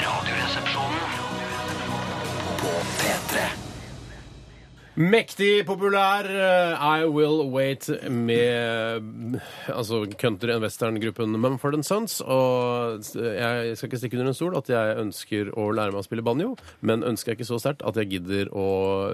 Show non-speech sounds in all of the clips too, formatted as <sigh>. Radioresepsjonen på P3. Mektig populær eh, I Will Wait med mm, altså country and western-gruppen Mumford Sons. Og s- jeg skal ikke stikke under en stol at jeg ønsker å lære meg å spille banjo, men ønsker jeg ikke så sterkt at jeg gidder å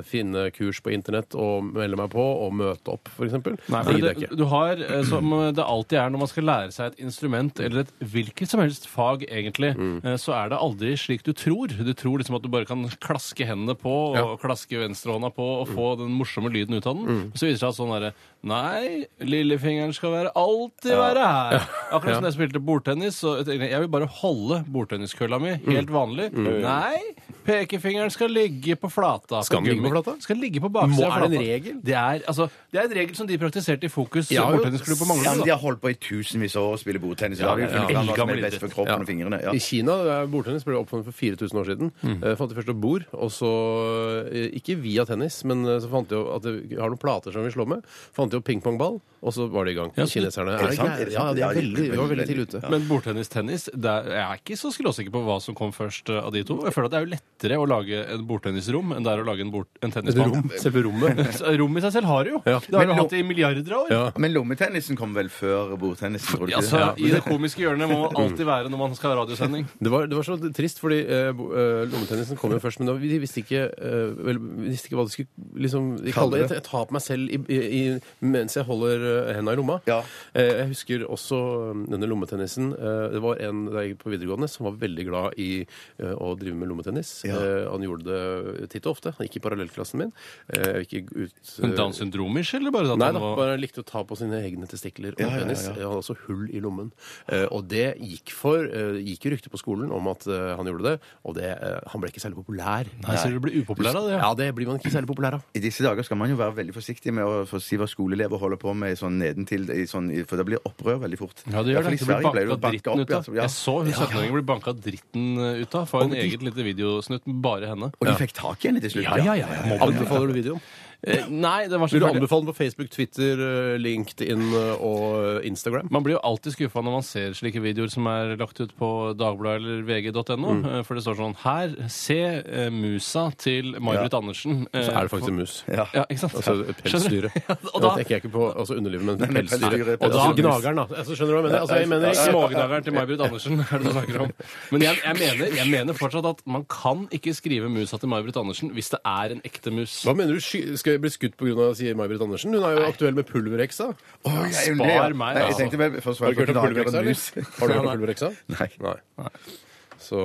finne kurs på internett og melde meg på og møte opp, f.eks. Nei, Det for gidder det, jeg ikke. du har, eh, som det alltid er når man skal lære seg et instrument eller et hvilket som helst fag, egentlig, Mm. eh, så er det aldri slik du tror. Du tror liksom at du bare kan klaske hendene på og Ja. Mm. klaske venstrehånda på og få den morsomme lyden ut av den. Så viser det seg at sånn derre Nei, lillefingeren skal være alltid være her. <laughs> Akkurat som da jeg spilte bordtennis, så tenkte jeg jeg vil bare holde bordtenniskølla mi Mm. helt vanlig. Nei, pekefingeren skal ligge på flata. Skal den ligge på gummi. flata? Skal ligge på Må- baksida. av er det en flata. regel? Det er, altså, det er en regel som de praktiserte i Fokus. Ja, Ja, jo. Bordtennisklubben på Ja, men Manglerud. De da. har holdt på i tusenvis av år å spille bordtennis. Ja, Ja, ja, ja, ja. ja. Hva som er Eldgammel best for kroppen og fingrene. Ja. Mm. I Kina eh, bordtennis ble oppfunnet for 4000 år siden. Eh, fant de først opp bord, og så eh, Ikke via tennis, men eh, så fant de jo at de har noen plater som vi slår med. Fant de opp pingpongball, og så var de i gang. Ja, så- Kineserne Er det sant? Er det Ja, sant? de Ja, er de- veldig, de var veldig tidlig ute. Ja. Men bordtennis-tennis det er- Jeg er ikke så skråsikker på hva som kom først eh, av de to. Jeg føler at Det er jo lettere å lage et bordtennisrom enn det er å lage en, bord, en tennisbane. Rom, selve rommet. <laughs> Så Rom i seg selv har det jo. Ja. Det har Men jo lo- hatt det i milliarder av år. Ja. Men lommetennisen kom vel før bordtennisen? Tror du ikke? Altså, det? I det komiske hjørnet må man alltid være når man skal ha radiosending. Det var, det var så trist, fordi eh, bo- eh, lommetennisen kom jo først, men da, vi visste ikke, eh, vel, vi visste ikke hva de skulle liksom, de kalle det. Jeg, jeg tar på meg selv i, i, i, mens jeg holder eh, hendene i lomma. Ja. Eh, jeg husker også eh, denne lommetennisen. Eh, det var en da jeg gikk på videregående som var veldig glad i eh, å drive med lommetennis. Ja. Eh, han gjorde det titt og ofte. Han gikk i parallellklassen min. Eh, jeg gikk ut... Men eh, Downs syndromisk, eller bare at Nei han da, var- bare likte å ta på sine egne testikler og Ja, ja, ja, penis. ja. Han hadde også hull i lommen. Eh, og det gikk for eh, gikk jo rykte på skolen om at eh, han gjorde det, og det, eh, han ble ikke særlig populær. Nei, så du blir upopulær av det. Ja, det blir man ikke særlig populær av. I disse dager skal man jo være veldig forsiktig med å få si hva skoleelever holder på med sånn nedentil, i sånn, i- for det blir opprør veldig fort. Ja, det I gjør hvert fall det. i Du blir Sverige ble det jo banka banka dritten opp. ut Ja, av. så- ja. Jeg så hun 17-åringen bli banka dritten eh, ut av. Få en eget lite videosnutt med bare henne. Og de fikk tak i henne til slutt. Anbefaler du videoen? Eh, Nei, den var så Vil du ferdig. anbefale den på Facebook, Twitter, eh, LinkedIn eh, og Instagram? Man blir jo alltid skuffa når man ser slike videoer som er lagt ut på Dagbladet eller vg.no. eh, For det står sånn her Se eh, musa til May-Britt Andersen. Eh, Så er det faktisk en mus. Ja. Ja, ikke sant? Altså <laughs> pelsdyret. Skjønner du? <laughs> Ja, og da da- tenker jeg ikke på altså, underlivet, men men pelsdyret. pelsdyret, Og da pelsdyret. gnageren, da. Altså, skjønner du hva jeg mener? Altså, jeg mener ikke Smågnageren til May-Britt Andersen <laughs> er det du snakker om. Men jeg, jeg, mener, jeg mener fortsatt at man kan ikke skrive musa til May-Britt Andersen hvis det er en ekte mus. Hva mener du? Sky- Skal jeg bli skutt pga. sier May-Britt Andersen? Hun er jo aktuell med pulverheksa. Å, jeg er Spar unnlig, ja. meg, Nei, jeg altså. tenkte vel for å svare Har du på hørt om Knager pulverheksa, og eller? mus. <laughs> Har du hørt om pulverheksa? Nei. Nei. Så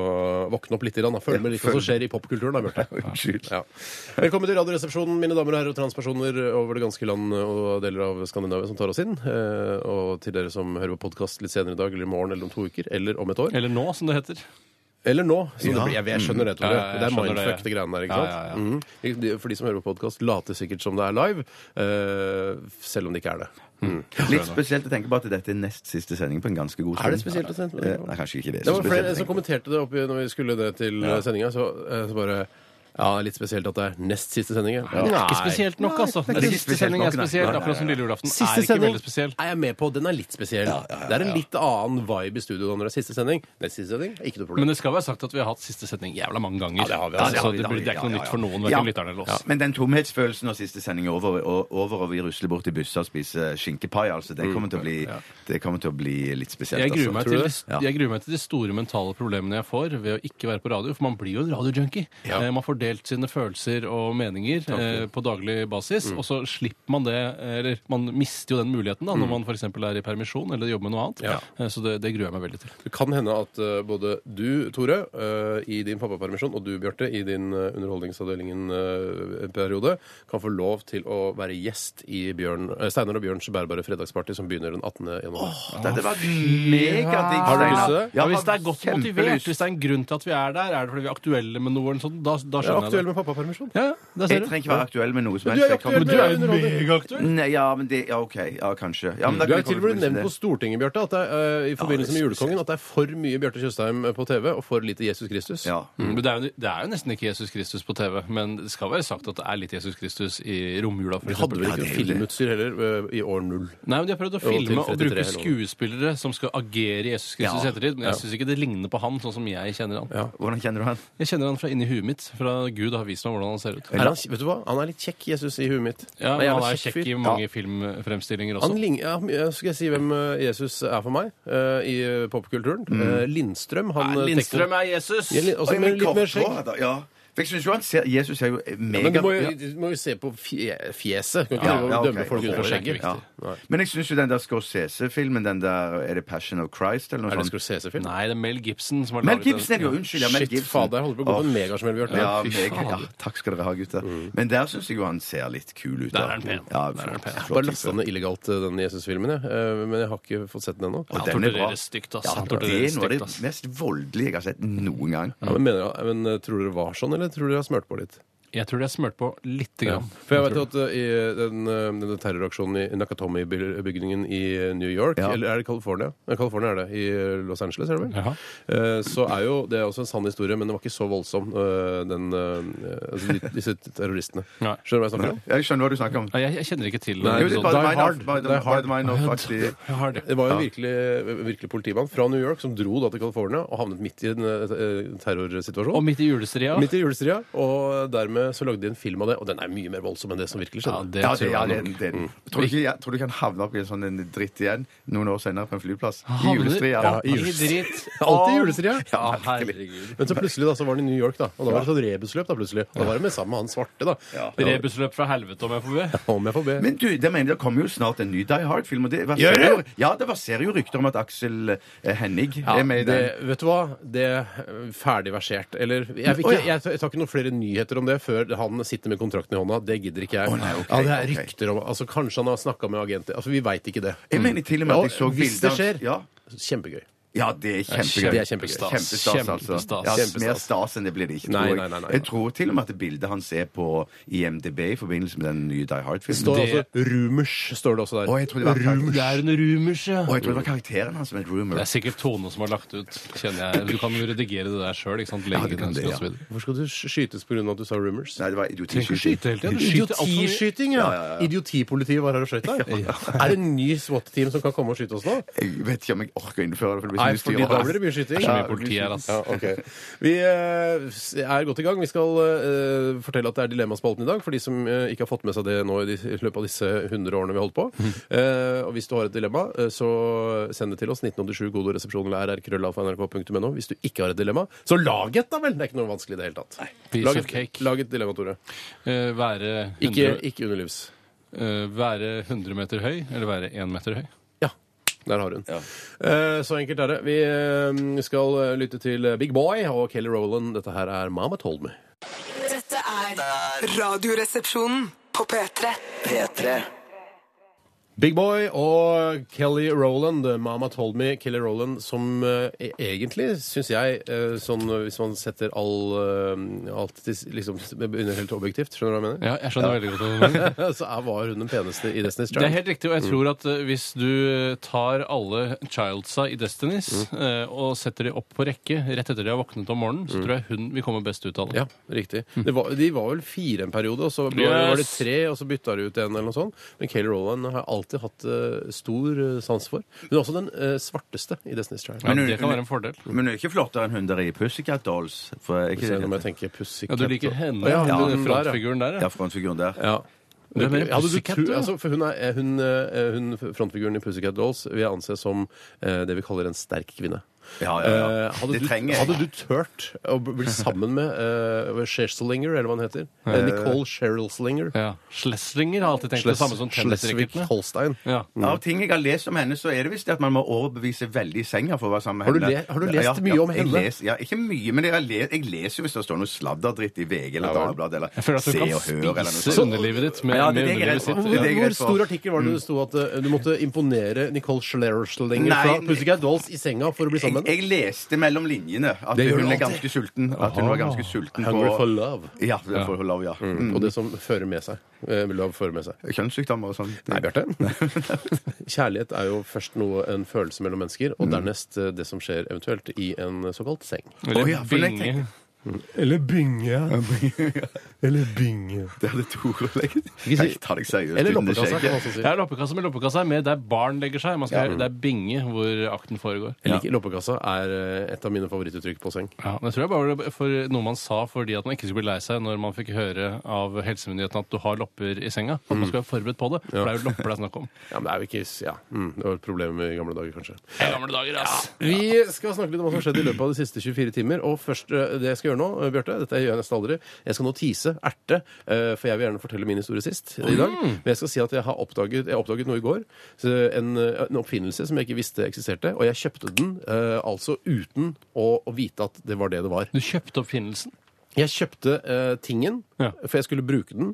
våkne opp litt, da. Følg med litt hva følg som skjer i popkulturen. da, <laughs> Bjarte. Unnskyld. Ja. Velkommen til Radioresepsjonen, mine damer og herrer og transpersoner over det ganske land og deler av Skandinavia som tar oss inn. Eh, Og til dere som hører på podkast litt senere i dag eller i morgen eller om to uker eller om et år. Eller nå, som det heter. Eller nå. som Ja. det blir. Jeg, jeg skjønner det, Tore. Ja, ja, jeg det er skjønner det, mindfuck, jeg. det greiene der. ikke Ja, sant? ja, ja. Mhm. De- For de som hører på podkast, later sikkert som det er live, eh, selv om det ikke er det. Mm. Mm. Litt spesielt å tenke på at dette er nest siste sending på en ganske god stund. Er det spesielt å tenke på det? Eh, Nei, kanskje ikke det. Det var Så flere spesielt å som tenke på. kommenterte det oppi når vi skulle det til ja. sendinga, så, eh, så bare ja, det er litt spesielt at det er nest siste sending. Ja. Det er ikke spesielt nok, altså. er ikke Siste spesielt sending nok, er nei. spesielt, Nei, nei, akkurat som lille julaften Siste er ikke sending veldig spesiell. er jeg med på. Den er litt spesiell. Det er en litt annen vibe i studio enn når det er siste sending. Nest siste sending, ikke noe problem. Men det skal være sagt at vi har hatt siste sending jævla mange ganger. Ja, det har vi, Så altså. Ja, det har vi, det, det har blir, vi, det er ikke ja, noe ja, nytt ja. for noen, Ja. hverken lytterne eller oss. Men den tomhetsfølelsen når siste sending er over, og, over og vi rusler bort til busser og spiser skinkepai, altså, det kommer til å bli, det kommer til å bli litt spesielt. Jeg gruer, altså. meg Tror til, du de det? st- jeg gruer meg til de store mentale problemene jeg får ved å ikke være på radio, for man blir jo en radiojunkie. Ja. Eh, Man får delt sine følelser og meninger eh, på daglig basis, Mm. og så slipper man det, eller man mister jo den muligheten Mm. da, når man f.eks. er i permisjon eller jobber med noe annet. Ja. Eh, Så det, det gruer jeg meg veldig til. Det kan hende at eh, både du, Tore, eh, i din pappapermisjon, og du, Bjarte, i din eh, Underholdningsavdelingen-periode, kan få lov til å være gjest i Bjørn, eh, Steinar og Bjørns bærbare fredagsparty, som begynner den 18. januar. Dette var megadigg, Har du lyst Steinar. til det? Ja, hvis det er godt kjempelyst. motivert, hvis det er en grunn til at vi er der, er det fordi vi er aktuelle med noe, eller noe sånt, da, da skjønner er skjønner jeg aktuell det. med pappapermisjon. Ja, ja, der Jeg ser trenger du. ikke være aktuell med noe som Men du helst. er Jeg kan- aktuell Men du er jo megaaktuell. Nei, ja, men det Ja, OK. Ja, kanskje. Ja, men da Du er kan jeg til og komme med nevnt det. på Stortinget Bjarte, at det er, eh, i forbindelse med det er Julekongen at det er for mye Bjarte Tjøstheim eh, på TV og for lite Jesus Kristus. Ja. Mm, men det, er jo, det er jo nesten ikke Jesus Kristus på TV, men det skal være sagt at det er litt Jesus Kristus i romjula. For De hadde vel eksempel. Ja, ikke det er jo det. filmutstyr heller eh, i år null. Nei, men De har prøvd å til filme og 33 bruke eller noe. skuespillere som skal agere Jesus Kristus i Ja. ettertid, men jeg syns ikke det ligner på han sånn som jeg kjenner han. Hvordan kjenner du han? Jeg kjenner han fra inni huet mitt, fra Gud har vist meg hvordan han ser ut. Er han, vet du hva? Han er litt kjekk, Jesus, i huet mitt. Ja, men jævla Han er kjekk kjekk fyr. i mange filmfremstillinger også. Han lign- ja, ja, skal jeg si hvem eh, Jesus er for meg eh, i eh, popkulturen? Mm. Eh, Lindstrøm. Han, eh, tekno- er Jesus! Ja, li- også Oi, med men litt mer korthåret, skjegg. da, Ja. For jeg synes jo han ser Jesus er jo Men du mega må jo, du må jo se på fje- fjeset. Kan ikke Ja, drive og ja, ok. dømme folk ut fra Håret er ikke skjegget. viktig. Ja. Men jeg syns jo den der Scorsese-filmen, den der Er det 'Passion of Christ' eller Er noe det sånt? Scorsese-film? Nei, det er Mel Gibson som har Mel laget Gibson er det jo! den. Unnskyld, ja, Mel Shit, Gibson. fader, jeg holder på å gå på Åh. en megasmell, Bjarte. Ja, fy meg, ja, fader. takk skal dere ha, gutter. Men der syns jeg jo han ser litt kul ut. Der da. er han pen. Ja, Der er han pen. flott, Bare flott lasta type. ned illegalt eh, den Jesus-filmen, jeg. Eh, Men jeg har ikke fått sett den ennå. Og Han den er bra. torturerer stygt, ass. Ja, Han det torturerer er noe av det stygt, ass. mest voldelige jeg har sett noen gang. Ja, men, mener, jeg- men eh, tror dere det var sånn, eller tror dere jeg har smurt på litt? Jeg tror de har smurt på lite Ja. grann. For jeg vet jo at eh, i den, eh, denne terroraksjonen i Nakatomi-bygningen i eh, New York, Ja. eller er det California? Nei, California er det. I Los Angeles, er det vel? Jaha. Eh, Så er jo det er også en sann historie, men den var ikke så voldsom, eh, den, eh, altså, de- disse terroristene. Nei. Skjønner du hva jeg snakker om? Jeg skjønner hva du snakker om. Nei, jeg, jeg kjenner ikke til Nei, Jo, den det er episoden. bare Die mine Hard. off, bare- Die Hard. bare mine off, aktig. Jeg har det. Det var jo Ja. virkelig, eh, virkelig politimann fra New York som dro da til California og havnet midt i en eh, terrorsituasjon. Og midt i julestria Midt i julestria, og dermed så lagde de en film av det, og den er mye mer voldsom enn det som virkelig Ja, skjedde. det Ja, tror det er jeg det. nok. Mm. det. Tror, du ikke, jeg, tror du ikke han havner opp i en sånn en dritt igjen noen år senere på en flyplass? I Havner julestria. alltid <laughs> Ja, i dritt. <laughs> Alltid i julestria. Ja, herregud. Men så plutselig da, så var han i New York, da. Og da var det sånn rebusløp, da, plutselig. Og da var det med sammen med han svarte, da. Rebusløp fra helvete, om jeg får be. Om jeg får be. Men du, det mener jeg, det kommer jo snart en ny Die Hard-film. og det Gjør verserer det? jo- Ja, det verserer jo rykter om at Aksel eh, Hennig Ja, er med i det, den. vet du hva? Det er ferdig versert. Eller jeg, vil ikke, Å, ja. jeg, tar- jeg tar ikke noen flere nyheter om det før han sitter med kontrakten i hånda. Det gidder ikke jeg. Å, nei, ok, ja, det er ok. rykter om altså, Kanskje han har snakka med agenter. Altså, Vi veit ikke det. Jeg mener til og med at jeg Ja, så hvis det bilder skjer. Ja. Kjempegøy. ja, det er kjempegøy. Det er kjempegøy. Kjempestas, altså. Kjempestas. Ja, Kjempestas. mer stas enn det blir det ikke, Nei, nei, tror nei, nei. jeg. Jeg tror til og med at bildet hans er på IMDb i forbindelse med den nye Die Det står Hard-filmen. altså Rumers står det også der. Å, jeg trodde det var Rumers. Det er en rumers, ja. Og jeg tror det var karakteren hans som het Rumor. Det er sikkert Tone som har lagt ut, kjenner jeg. Du kan jo redigere det der sjøl, ikke sant? Ja, Legge du den kan det, ut og ja. så videre. Hvorfor skal du sk- skytes pga. at du sa Rumors? Nei, det var Trenger ikke idiotiskyting. skyte hele tiden. Du skyter altfor mye. Idiotiskyting, ja. Idiotipolitiet var her og skøyt deg. <laughs> Er det en ny SWAT-team som kan komme og skyte oss nå? Jeg vet ikke om jeg orker å innføre det. For det blir så Nei, mye styr fordi da over blir det mye skyting. Det er så mye politi her, ass. Ja, ok. Vi eh, s- er godt i gang. Vi skal eh, fortelle at det er Dilemmaspalten i dag, for de som eh, ikke har fått med seg det nå i de- i løpet av disse 100 årene vi har holdt på. Eh, og hvis du har et dilemma, eh, så send det til oss. 1987 kodoresepsjon eller rr.krøllalfa.nrk.no. Hvis du ikke har et dilemma, så lag et, da vel! Det er ikke noe vanskelig i det hele tatt. Piece Lag of et, cake. lag et dilemma, Tore. Eh, være, 100, Ikke, ikke underlivs. eh, være 100 meter høy, eller være 1 meter høy? Ja. Der har hun. Eh, Så enkelt er det. Vi eh, skal eh, lytte til Big Boy og Kelly Rowland. Dette her er Mama Told Me. Dette er Radioresepsjonen på P3. P3. Big Boy og Kelly Rowland, eh, Mama Told Me, Kelly Rowland, som eh, e- egentlig, syns jeg, eh, sånn eh, hvis man setter all, eh, alt til s- liksom, under helt objektivt, skjønner du hva jeg mener? Ja, jeg skjønner veldig godt hva du mener. <laughs> Så er, var hun den peneste i Destiny's <laughs> Det er Child. helt riktig, og jeg tror at eh, hvis du tar alle childsa i Destinys eh, og setter de opp på rekke rett etter de har våknet om morgenen, så tror jeg hun vil komme best ut av det. Ja, riktig. Det var, de var vel fire en periode, og så ble, var det Mm. Yes! tre, og så bytta de ut en eller noe sånt. Men Kelly Rowland har jeg alltid hatt eh, stor eh, sans for. Hun er også den eh, svarteste i Destiny's Child. Ja, Men hun- det kan være en fordel. Men hun er ikke flottere enn hun der i Pussycat Dolls. For er ikke Se, nå må det jeg tenke Pussycat. Ja, du liker og- henne, Å, ja, ja, hun den der, ja. frontfiguren der, ja, ja. frontfiguren der. Ja. Du er mer en Hadde du pussycat, tro- du, ja. altså, for hun, er, hun, eh, hun frontfiguren i Pussycat Dolls vil jeg anse som eh, det vi kaller en sterk kvinne. Ja, ja, ja. Eh, hadde, Det du, trenger jeg. hadde du turt å b- bli sammen med uh, Slinger, eller hva han heter? Eh, Nicole Sheryl Slinger. ja. Schlesinger har alltid tenkt det samme som tennisracketene. Holstein. Ja. Av ting jeg har lest om henne, så er det visst det at man må overbevise veldig i senga for å være sammen med Har du henne. le- har du lest mye om henne? Jeg leser, ja, ikke mye, men jeg, har le- jeg leser jo hvis det står noe sladderdritt i VG Ja, eller vel. Dagbladet eller Jeg føler at du Se kan og Hør eller noe spise sånt. underlivet ditt med, Ja, det med er det jeg er underlivet redd sitt. Ja. for. Det er Hvor, greit hvor for- Mm. stor artikkel var det det sto at eh, du måtte imponere Nicole Schlerer Schlenger Nei, fra men- Pussycat Dolls i senga for å bli sammen filmen? jeg, jeg leste mellom linjene at Det gjør hun du er alltid. Ah. ganske sulten. At hun var ganske sulten Hungry på for love. Ja, for love, ja. Mm. Og det som fører med seg. eh, Love fører med seg. Kjønnssykdommer og sånn. Nei, <laughs> Bjarte. Kjærlighet er jo først noe, en følelse mellom mennesker, Mm. og dernest eh, det som skjer eventuelt i en såkalt seng. Å, ja, for jeg tenker- Eller binge. Eller binge. Det hadde <laughs> Tore lekt. Ikke si- Jeg tar deg seriøst Eller uten det loppekassa, kan man skjegget. også si. Det er loppekassa, men loppekassa er med der barn legger seg. Man skal, Det er binge hvor akten foregår. Jeg liker loppekassa er eh, et av mine favorittuttrykk på seng. Ja, men jeg tror jeg bare var for noe man sa fordi at man ikke skulle bli lei seg når man fikk høre av helsemyndighetene at du har lopper i senga. At Mm. man skal være forberedt på det. For det er jo lopper det er snakk <laughs> om. Ja, men det er jo ikke ja. mm, Det var et problem i gamle dager, kanskje. I gamle dager, ass. Vi skal snakke litt om hva som har skjedd i løpet av de siste 24 timer. Og først, eh, det jeg skal gjøre nå, eh, Bjarte, dette gjør jeg nesten aldri, jeg skal nå tease, erte, eh, for jeg vil gjerne fortelle min historie sist i dag. Men jeg skal si at jeg har oppdaget, jeg oppdaget noe i går. så En, eh, en oppfinnelse som jeg ikke visste eksisterte. Og jeg kjøpte den eh, altså uten å, å vite at det var det det var. Du kjøpte oppfinnelsen. Jeg kjøpte eh, tingen, Ja. for jeg skulle bruke den.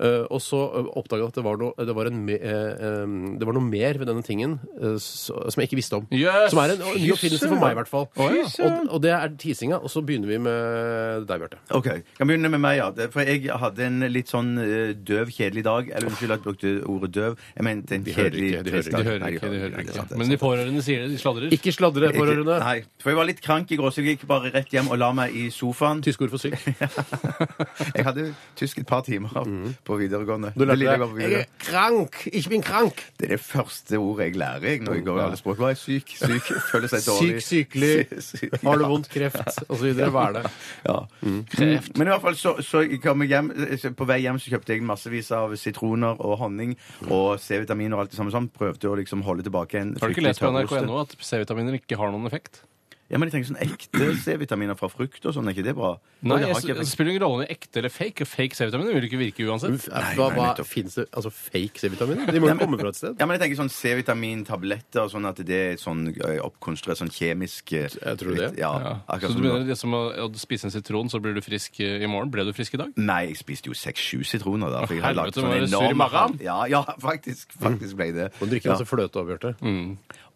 eh, og så oppdaga jeg at det var, noe, det, var en, me- eh, eh, det var noe mer ved denne tingen eh, så, som jeg ikke visste om. Yes! Som er en ny oppfinnelse for meg, i hvert fall. Å, ja. og, og det er teasinga. Og så begynner vi med deg, Bjarte. Ok, kan begynne med meg, ja. Det- For jeg hadde en litt sånn eh, døv, kjedelig dag. Eller unnskyld at jeg brukte ordet døv. Jeg mente en De hører kjedelig ikke, de trist hører De dag. hører Nei, ikke. de ikke. hører Nei, det er sant, ikke. det er Men de pårørende sier det. De sladrer. Ikke sladre, pårørende. Ikke- Nei, for jeg var litt krank i går, så jeg gikk bare rett hjem og la meg i sofaen. Tyske ord for <laughs> syk. Jeg hadde tysk et par <laughs> timer på videregående. Mhm. Du Det lille lærte jeg var på deg Jeg videregående. er krank! Ich bin krank! Det er det første ordet jeg lærer jeg når jeg går i alle språk. Hva er syk? Syk. Føler seg Syk, dårlig. sykelig. <laughs> Syk, syk. Har du vondt kreft? Og så videre. Hva er det? <laughs> Ja. Kreft. Mm. Men i hvert fall så, så jeg kom jeg hjem, så på vei hjem så kjøpte jeg massevis av sitroner og honning og C-vitamin og alt det samme sånn. Prøvde å liksom holde tilbake en Har du ikke lest på nrk.no at C-vitaminer ikke har noen effekt? Ja, men jeg tenker sånn ekte C-vitaminer fra frukt og sånn, er ikke det bra? Nei, det jeg, har Det ikke effekt. spiller ingen rolle om det er ekte eller fake. Fake C-vitaminer vil ikke virke uansett. Hva, hva Fins det altså fake C-vitaminer? De må jo komme fra et sted. Ja, men jeg tenker sånn C-vitamintabletter og sånn at det er sånn ø, oppkonstruert sånn kjemisk eh, Jeg tror det. Ja, Ja. akkurat Så du som mener det er som å, å spise en sitron, så blir du frisk eh, i morgen? Ble du frisk i dag? Nei, jeg spiste jo seks-sju sitroner da. For jeg har Helvete, lagd sånn var det sur i enorm magen? Ja, ja, faktisk. Faktisk ble det. Og drikker masse fløte av, Bjarte.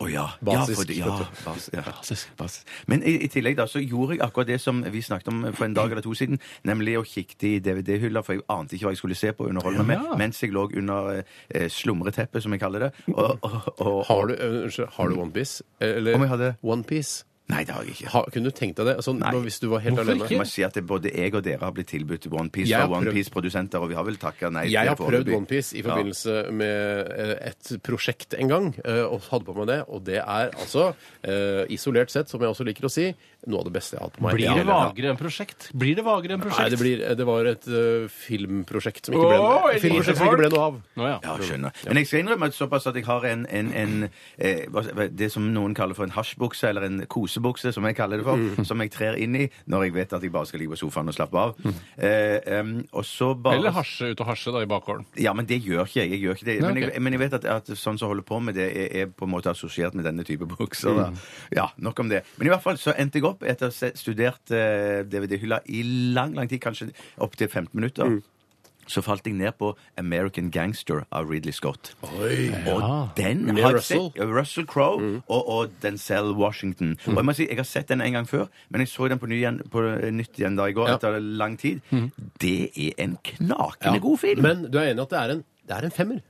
Å ja. Basisk, ja, for det- vet ja, bas, ja. Bas. Men i, i tillegg da, så gjorde jeg akkurat det som vi snakket om for en dag eller to siden, nemlig å kikke i DVD-hylla, for jeg ante ikke hva jeg skulle se på og underholde meg med, mens jeg lå under eh, slumreteppet, som jeg kaller det. Og, og, og, Har du, øh, unnskyld, har du One Piece? Eller Mm. Om jeg hadde- One Piece? Nei, det har jeg ikke. Ha, kunne du tenkt deg det? Altså, nå Hvis du var helt Hvorfor alene? Jeg må si at det, både jeg og dere har blitt tilbudt One Piece Jeg har fra One prøvd- Piece-produsenter, og vi har vel takka nei. til Jeg har det prøvd foreløpig. One Piece i Ja. forbindelse med eh, et prosjekt en gang, eh, og hadde på meg det. Og det er altså, eh, isolert sett, som jeg også liker å si, noe av det beste jeg har hatt på meg. Blir Jeg det har- vagere enn prosjekt? Blir det vagere enn Nei, prosjekt? det, blir, det var et eh, filmprosjekt som ikke ble, Åh, et filmprosjekt som ikke ble noe av. Nå, ja. Ja, skjønner. Men jeg skal innrømme at såpass at jeg har en, en, en eh, hva- hva- det som noen kaller for en hasjbukse, eller en kosebukse, som jeg kaller det for, Mm. som jeg trer inn i når jeg vet at jeg bare skal ligge på sofaen og slappe av. Eh, em, og så bare Mm. Eller hasje ut og hasje da, i bakgården. Ja, men det gjør ikke jeg. jeg, gjør ikke det. Nei, men, ok. jeg men jeg vet at, at sånn som holder på med det, er, er på en måte assosiert med denne type bukser. da. Mm. Ja, nok om det. Men i hvert fall så endte jeg opp, etter å ha se- studert eh, DVD-hylla i lang, lang tid, kanskje opptil 15 minutter, Mm. så falt jeg ned på American Gangster av Ridley Scott. Og Ah. den Med har jeg Russell. Mm. sett. Russell Crowe og, og Denzel Washington. Og jeg må si, jeg har sett den en gang før, men jeg så den på, ny igjen, på eh, nytt igjen da i går, Ja. etter lang tid. Mm. Det er en knakende god film! Men du er enig i at det er en, det er en femmer?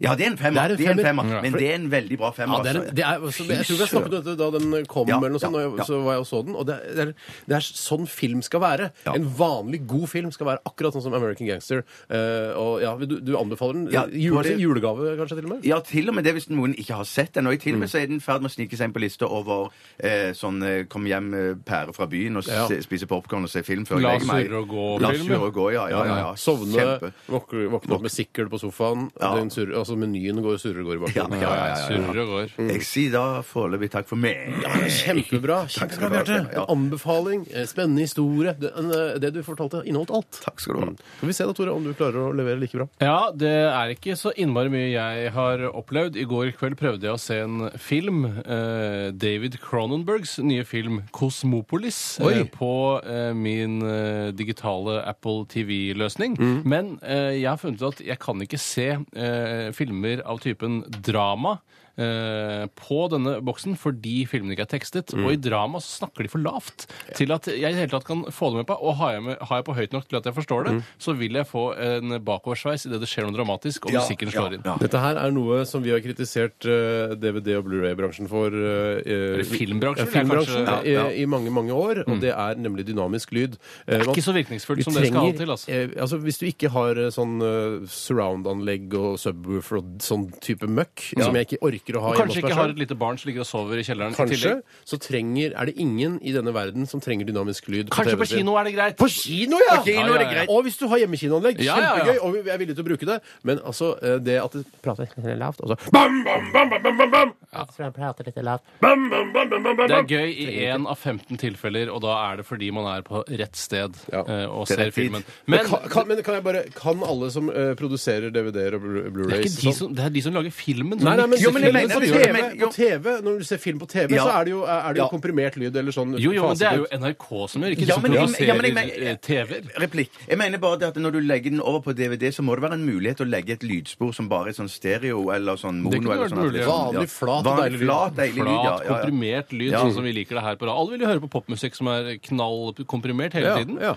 Ja, det er en femmer. Det er en Det er en femmer. femmer. Men det er en veldig bra Ja, femmer. det er, altså. det er, altså, jeg tror vi har snakket om dette da den kom, Ja, eller noe sånt, ja, og jeg- ja. så var jeg og så den. Og det er, det er, det er sånn film skal være. Ja. En vanlig god film skal være akkurat sånn som American Gangster. Eh, og ja, du, du anbefaler den? Ja, Jule, det- julegave, kanskje, til og med? Ja, til og med det hvis noen ikke har sett den. Og i til Mm. og med så er den i ferd med å snike seg inn på lista over eh, sånn eh, kom hjem eh, pære fra byen og Ja. se, spise popkorn og se film før La jeg legger meg. surre og gå-film, La ja. surre og gå, ja. ja, ja, ja. Sovne, Kjempe. våkne våkne opp med sikkel på sofaen. Ja. Den surrer, altså menyen går surrer og går i bakgrunnen. Ja, ja, ja, ja. Surrer og går. Jeg sier da foreløpig takk for meg. Kjempebra. kjempebra Takk skal du ha, Bjarte. ja. En Anbefaling. eh, Spennende historie. Det, en, eh, det du fortalte, inneholdt alt. Takk skal du ha. Skal vi se da, Tore, om du klarer å levere like bra. Ja, det er ikke så innmari mye jeg har opplevd. I går kveld prøvde jeg å se en film. Eh, David Cronenbergs nye film 'Kosmopolis' Oi. eh, på eh, min eh, digitale Apple TV-løsning. Men eh, jeg har funnet ut at jeg kan ikke se eh, filmer av typen drama. eh, på denne boksen fordi filmene ikke er tekstet. Og i drama så snakker de for lavt til at jeg i det hele tatt kan få det med på. Og har jeg, med, har jeg på høyt nok til at jeg forstår det, så vil jeg få en bakoversveis idet det skjer noe dramatisk, og Ja, musikken ja, slår inn. ja. Dette her er noe som vi har kritisert eh, DVD- og Blu-ray-bransjen for. eh, eh, filmbransjen, ja, filmbransjen kanskje. Mm. eh, I, mange, mange år. Og det er nemlig dynamisk lyd. Eh, Det ikke så virkningsfullt som det skal ha til, altså. altså. Hvis du ikke har eh, sånn eh, surround-anlegg og subwoofer og sånn type møkk som jeg ikke orker å ha Og kanskje hjemme ikke hos har meg et lite barn som ligger og sover i kjelleren. i Kanskje tillegg. så trenger, er det ingen i denne verden som trenger dynamisk lyd. Kanskje på TV-en sin. kino er det greit. På kino, ja! På kino er Ja, ja, det ja. greit. Og hvis du har hjemmekinoanlegg, Ja, ja, ja. kjempegøy, og vi er villige til å bruke det, men altså, eh, det at det prater litt lavt, og så bam, bam, bam, bam, bam, bam, bam, bam, bam, bam, bam, bam, Det bam. er gøy i 1 av 15 tilfeller, og da er det fordi man er på rett sted Ja. eh, og Til ser rett tid. filmen. Men Men kan, kan, men kan jeg bare Kan alle som eh, produserer DVD-er og Blu- det er Blu-rays ikke de sånn. som, det er de som lager filmen. som Nei, nei, men, mikser Jo, men jeg filmen filmen mener på, som det- gjør det. TV, men- jo. på TV, når du ser film på TV, Ja. så er det jo, er det jo Ja. komprimert lyd eller sånn Jo, jo, men det er jo faset ut. NRK som gjør, ikke Ja, de som men jeg- ja, men jeg produserer mener- eh, TV-er. Replikk. Jeg mener bare det at når du legger den over på DVD, så må det være en mulighet til å legge et lydspor som bare er sånn stereo eller sånn Det mono. kunne eller vært sånn at det mulig. er sånn, ja. Vanlig, flat, deilig Vanlig, lyd. flat, deilig lyd. Ja, Flat, ja, ja. komprimert lyd, Ja. sånn som vi liker det her på rad. Alle vil jo høre på popmusikk som er knallkomprimert hele ja, tiden. ja.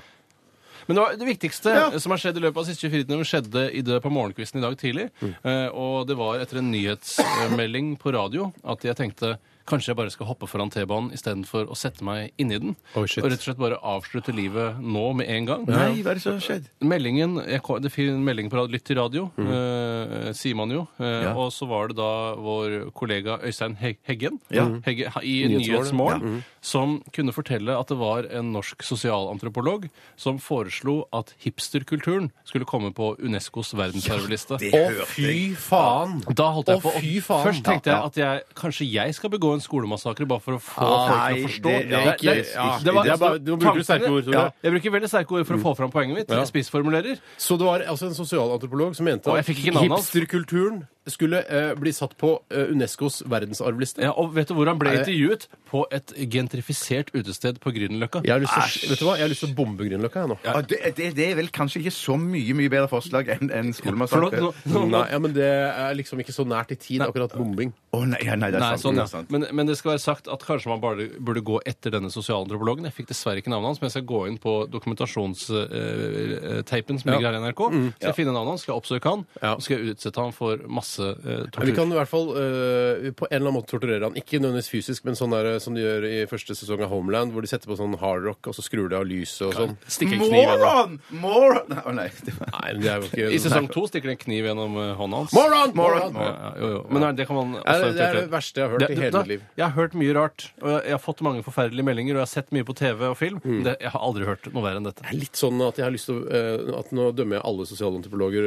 Men det, var det viktigste Ja. som har skjedd i løpet av de siste 24 timer, skjedde i det på morgenkvisten i dag tidlig. Mm. Eh, og det var etter en nyhetsmelding på radio at jeg tenkte kanskje jeg bare skal hoppe foran T-banen istedenfor å sette meg inni den. Oi, shit. og rett og slett bare avslutte livet nå med en gang. Nei, hva er det som har skjedd? Meldingen, jeg, ko- Det finnes en melding på rad- Lytt til radio, Mhm. eh, sier man jo. Eh, Ja. Og så var det da vår kollega Øystein He- Heggen Ja. Hegge, ha- i Nyhetsmorgen. Nyhetsmorgen som kunne fortelle at det var en norsk sosialantropolog som foreslo at hipsterkulturen skulle komme på Unescos verdensarvliste. det Å, hørte fy jeg. faen! Da holdt jeg Å, på. å- fy faen. Først tenkte jeg Ja, ja. at jeg, kanskje jeg skal begå en skolemassakre bare for å få Ah, folk nei, til å forstå. det- ja, det, ikke- ja, ikke- det var, altså, det er bare- nå bruker du sterke ord, Tore. Mm. Ja, jeg bruker veldig sterke ord for å få fram poenget mitt. Jeg spissformulerer. Så det var altså en sosialantropolog som mente Å, at jeg fikk ikke navnet hans. hipsterkulturen skulle eh, bli satt på eh, Unescos verdensarvliste. Ja, og vet du hvor han ble Er det- intervjuet? På et gentrifisert utested på Grünerløkka. Jeg har lyst til, å- vet du hva? Jeg har lyst til å bombe Grünerløkka jeg nå. Ah, det, det, det er vel kanskje ikke så mye mye bedre forslag enn en Forlåt, skolemassakre. nå, Å nå, nå, Nei, ja, men det er liksom ikke så nært i tid, akkurat bombing. nei, ja, nei, det er Nei, sant. sånn, det ja. er sant. men, men det skal være sagt at kanskje man bare burde gå etter denne sosialantropologen. Jeg fikk dessverre ikke navnet hans, men jeg skal gå inn på dokumentasjonsteipen som ligger her i NRK. Så jeg finner navnet hans, skal jeg oppsøke han, Mm. Ja. og skal jeg utsette han for masse eh, Vi tortur. kan i hvert fall eh, på en eller annen måte torturere han. Ikke nødvendigvis fysisk, men sånn der, eh, som de gjør i første sesong av Homeland, hvor de setter på sånn hardrock, og så skrur de av lyset og sånn. Stikke en kniv gjennom. Moron! Moron! Å nei. det var- Nei, men det er jo ikke I sesong to stikker de en kniv gjennom eh, hånda hans. Moron! Moron! Ja, ja, jo, jo. Men nei, det kan man også Det er, det er det eventuelt- verste jeg har hørt Det- i det- hele da- mitt liv. Jeg har hørt mye rart. og Jeg, jeg har fått mange forferdelige meldinger, og jeg har sett mye på TV og film. Mm. men Det, jeg har aldri hørt noe verre enn dette. Det er litt sånn at jeg har lyst til å eh, At nå dømmer jeg alle sosialantropologer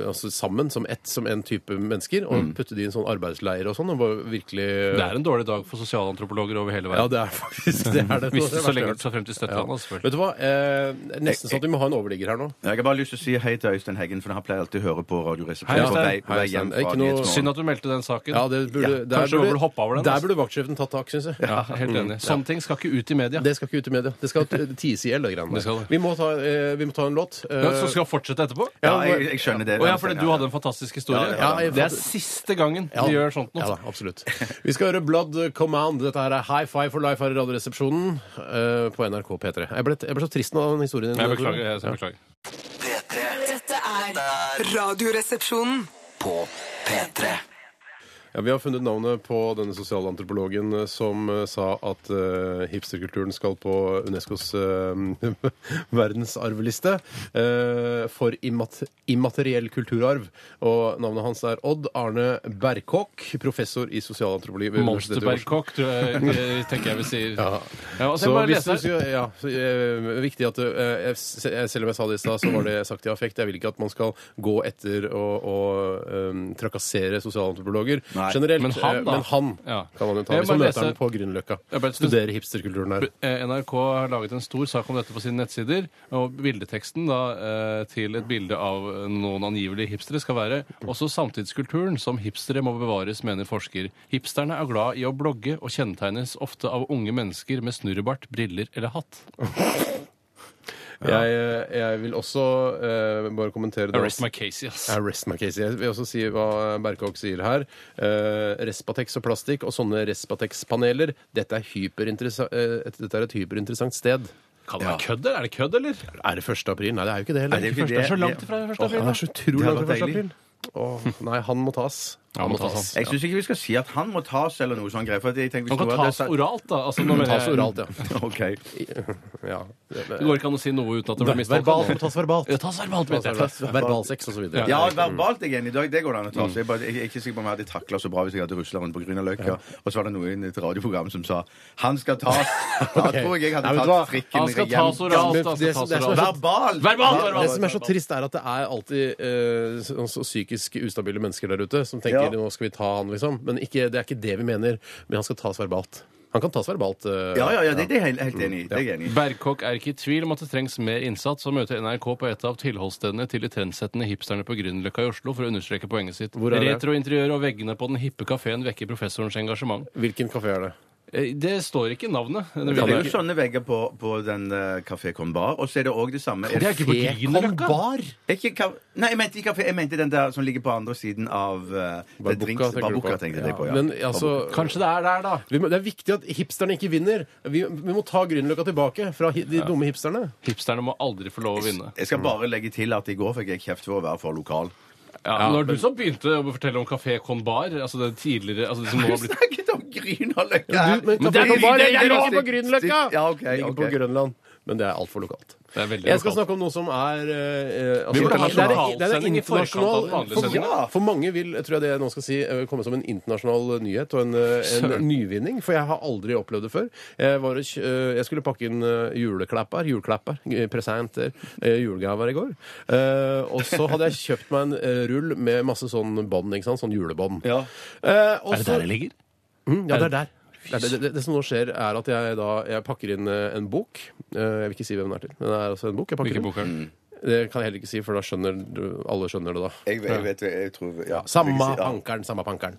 eh, altså sammen, som ett, som en type mennesker, og putte de i en sånn arbeidsleir og sånn, og bare virkelig Mm. Det er en dårlig dag for sosialantropologer over hele Ja, verden. det er faktisk det. er det Hvis Det er det verste jeg så har lenge hørt. så frem til Ja. støttelandet, selvfølgelig. Vet du hva? Eh, det er nesten sånn at vi må ha en overligger her nå. Jeg har bare lyst til å si hei til Øystein Heggen, for han pleier alltid å høre på Hei, Radioresepsjonen. Øystein. på vei- på Hei, vei Øystein. hjem fra Ikke noe- Nyhetsmorgen. Synd at du meldte den saken. Ja, det burde, der, Ja, kanskje man burde burde, hoppe over den, der altså. burde vaktsjefen tatt tak, syns jeg. Ja, helt enig. Sånne ting skal ikke ut i media. Mm. Det skal ikke ut i media. Det skal t- ties i hjel, det greiene Det skal der. det. Vi må ta, eh, vi må ta en låt. Ja, Eh, Som skal fortsette etterpå? Ja, jeg, jeg skjønner det. Å ja, fordi du hadde en fantastisk historie. ja, Ja, ja. Det er siste gangen Eh, Ja, du gjør sånt Ja da, noe. absolutt. Vi skal høre Blood Command. Dette her er High Five for Life her i Radioresepsjonen eh, på NRK P3. Jeg ble, jeg ble så trist av den historien din. Jeg beklager. Jeg jeg beklager. Dette er Radioresepsjonen. Ja, vi har funnet navnet på denne sosialantropologen eh, som eh, sa at eh, hipsterkulturen skal på Unescos eh, <laughs> verdensarvliste eh, for immat immateriell kulturarv. Og navnet hans er Odd Arne Berkåk, professor i sosialantropologi ved Universitetet i Oslo. Monsterbergkokk, tror jeg- jeg- tenker jeg vi sier. Ja. Ja, og så Så bare hvis du lese her. skal, ja, så, eh, viktig at eh, jeg, s- jeg- Selv om jeg sa det i stad, så var det sagt i affekt. Jeg vil ikke at man skal gå etter å, å eh, trakassere sosialantropologer Nei. generelt. Men han, eh, da? Men han Ja. kan man jo ta. Jeg Hvis bare man lese- møter ham på Grünerløkka. Jeg bare- Studerer hipsterkulturen der. Eh, NRK har laget en stor sak om dette på sine nettsider. Og bildeteksten da, eh, til et bilde av noen angivelige hipstere skal være også samtidskulturen som hipstere må bevares, mener forsker. Hipsterne er glad i å blogge og kjennetegnes ofte av unge mennesker med snurrebart, briller eller hatt. Jeg, eh, jeg vil også eh, bare kommentere det Arrest my Casey, ass. Ja, Rest my case. Jeg vil også si hva Berkåk sier her. Eh, Respatex og plastikk og sånne Respatex-paneler, dette, er hyperinteressa- eh, dette er et hyperinteressant sted. Kan det være kødd, eller? Er det kødd, eller? Er det 1. april? Nei, det er jo ikke det heller. Nei, det er jo ikke Første, er så langt ifra første Åh, april. han er så da. utrolig Det langt hadde fra 1. vært april. Åh, nei, han må tas. Han må tas, Jeg syns ikke vi skal si at han må tas, eller noe sånt. greier, For jeg tenker, hvis Han kan noe av det tas er oralt, da. Altså, nå Han må mener Eh, tas jeg- Mm, oralt, ja. <laughs> Ok. ja. Det går ikke an å si noe uten at det blir mistolket. Verbalt må tas verbalt. Ja, tas verbalt, Tas mente jeg. verbalt. Verbalsex og så videre. Ja, verbalt er jeg enig i dag. Det går det an å ta. Så jeg, bare, jeg er ikke sikker på om jeg hadde takla så bra hvis jeg hadde rusla rundt på Grünerløkka. Og så var det noen i et radioprogram som sa 'han skal <laughs> tas'. Da tror jeg jeg Nei, hadde vet du hva? tatt Han trikken skal hjem. tas oralt, men da. Han det skal som- tas det som er oralt. så- Verbalt, Verbalt! Verbalt! verbalt. Det som er så trist, er at det er alltid eh, så, så psykisk ustabile mennesker der ute som tenker Ja. nå skal vi ta han, liksom. Men ikke, det er ikke det vi mener. Men han skal tas verbalt. Han kan tas verbalt. eh, Ja, ja, ja, det det er jeg helt, helt enig i. Det er jeg enig i. Berkåk er ikke i tvil om at det trengs mer innsats, og møter NRK på et av tilholdsstedene til de trendsettende hipsterne på Grünerløkka i Oslo for å understreke poenget sitt. Hvor er det? Retrointeriøret og veggene på den hippe kafeen vekker professorens engasjement. Hvilken kafé er det? Eh, Det står ikke i navnet. Det Det vil er jeg jo ikke. sånn vegger på, på den eh, Café Con Bar, og så er det òg det samme Det er ikke på Kon Grünerløkka. Bar? Er ikke ka- Nei, jeg mente, ikke kafé, jeg mente den der som ligger på andre siden av uh, Barbuca, tenker du på? Barbuca, tenkte jeg på. ja. Men altså Kanskje det er der, da. vi må, Det er viktig at hipsterne ikke vinner. Vi, vi må ta Grünerløkka tilbake fra hi, de dumme hipsterne. Hipsterne må aldri få lov å vinne. Mm. Jeg skal bare legge til at i går fikk jeg kjeft for å være for lokal. Ja, men det var du som begynte å fortelle om Kafé Con Bar. Altså det tidligere altså det som nå har Du <laughs> blitt snakket om Grünerløkka! Du, men Men Café det er- Kon Bar det er- ligger også på det er- Grünerløkka! Ja, ok, Ligger ok. på Grønland. Men det er altfor lokalt. Det er veldig Jeg skal lokalt. snakke om noe som er eh, altså, Vi må det ta er- det er- nasjonalsending det er en i forkant av den vanlige internasjonal- sendingen. For, for mange vil, tror jeg det jeg nå skal si, eh, komme som en internasjonal nyhet og en, eh, en nyvinning. For jeg har aldri opplevd det før. Jeg, var, og kj- eh, jeg skulle pakke inn eh, juleklapper, juleklapper, eh, presenter, eh, julegaver i går. Eh, og så hadde jeg kjøpt meg en eh, rull med masse sånn bånd, ikke sant? Sånn julebånd. Ja. Eh, og Er det så- der det ligger? Mm, ja, det er der. Det, er det, det, det som nå skjer, er at jeg da jeg pakker inn eh, en bok. Eh, Jeg vil ikke si hvem den er til. men det er altså en bok. Jeg pakker Hvilken inn. bok er det? Det kan jeg heller ikke si, for da skjønner du- alle skjønner det da. Jeg, jeg vet jeg tror ja. Samme Ja. pankeren, samme pankeren.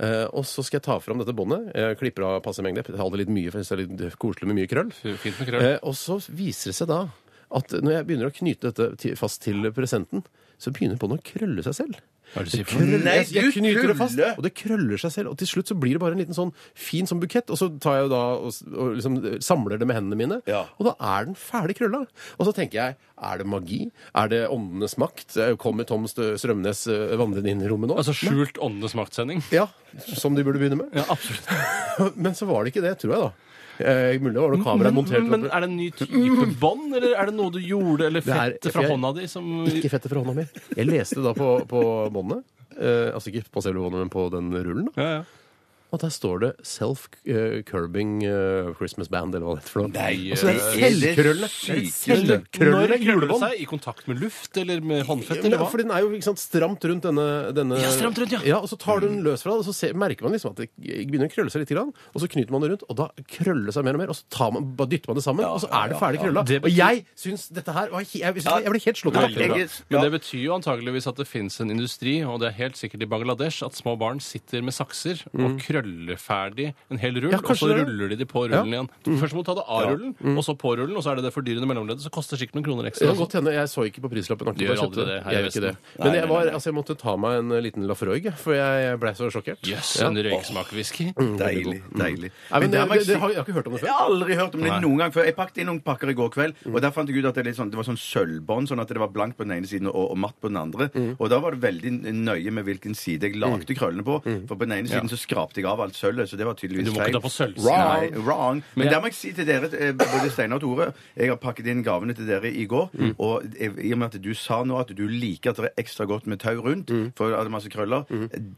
Eh, og så skal jeg ta fram dette båndet. Jeg klipper av passe mengde. Jeg tar det litt mye, for jeg synes det er litt koselig med mye krøll. Fint med krøll. Eh, og så viser det seg da at når jeg begynner å knyte dette ti- fast til presenten, så begynner båndet å krølle seg selv. Hva er det du sier for noe? krøller, Nei, jeg, jeg du knyter det fast, tuller! og det krøller seg selv. Og til slutt så blir det bare en liten sånn fin sånn bukett, og så tar jeg jo da og, s- og liksom samler det med hendene mine, Ja. og da er den ferdig krølla. Og så tenker jeg, er det magi? Er det åndenes makt? Eh, Kommer Tom Stø Strømnes eh, vandrende inn i rommet nå? Altså skjult åndenes maktsending? ja, som de burde begynne med. Ja, <laughs> <laughs> absolutt. Men så var det ikke det, tror jeg da. Eh, mulig det var noe kamera Men, montert men opp. er det en ny type bånd, eller er det noe du gjorde, eller Det er- fett fra jeg- hånda di som Ikke fettet fra hånda mi. Jeg leste da på, på båndet. Eh, altså ikke på selve båndet, men på den rullen. da. ja, ja. Og der står det 'Self-Curbing eh, Christmas Band', eller hva det heter. for noe. Nei, altså, det eh, er selvkrøllene. det er det Selvkrøllene Når krøller det julebånd. seg? I kontakt med luft eller med håndfett? Ja, Eller hva? for den er jo ikke sant, stramt rundt denne, denne Ja, stramt rundt, ja. Og så tar du den løs fra det, og så ser, merker man liksom at det begynner å krølle seg litt. Grann, og så knyter man det rundt, og da krøller det seg mer og mer. Og så tar man, bare dytter man det sammen, og så er det ferdig krølla. Det betyr- Og jeg syns dette her var he- Jeg, jeg ble helt slått av Veldig bra. bakken. Jeg- Men ja. det betyr jo antageligvis at det fins en industri, og det er helt sikkert i Bangladesh, at små barn sitter med sakser og krøller ferdig en hel rull, Mm. Ja, og så kanskje det. Mm. ruller de det på rullen igjen. Først må du ta det av rullen, og så på rullen, og så er det det fordyrende mellomleddet, så koster det sikkert noen kroner Det ekstra. kan godt hende. Jeg så ikke på prislappen. akkurat Du gjør da jeg kjøpte aldri det her i Jeg gjør ikke det. Vesten. Men jeg, var, altså, jeg måtte ta meg en eh, liten Lafroig, for jeg, jeg ble så sjokkert. Jøss, Ja. Mm, en røyksmakerwhisky. Deilig. deilig. Nei, men det, der må det, jeg det, si- har, jeg har ikke hørt om det Jeg før. Mm. har aldri hørt om det noen gang før. Jeg pakket inn noen pakker i går kveld, og der fant jeg ut at det, er litt sånn, det var sånn sølvbånd, sånn at det var blankt på den ene siden og, og matt på den andre. Mm. Og da var det veldig nøye med hvilken side jeg lagde krøllene på, Mm. for på den ene siden så skrapte jeg av alt sølvet, så det var tydeligvis Du må ikke ta på sølvsiden. Wrong. Nei, wrong. Men der må jeg si til dere, eh, både Steinar og Tore, jeg har pakket inn gavene til dere i går. Og eh, i og med at du sa nå at du liker at det er ekstra godt med tau rundt, for det er masse krøller,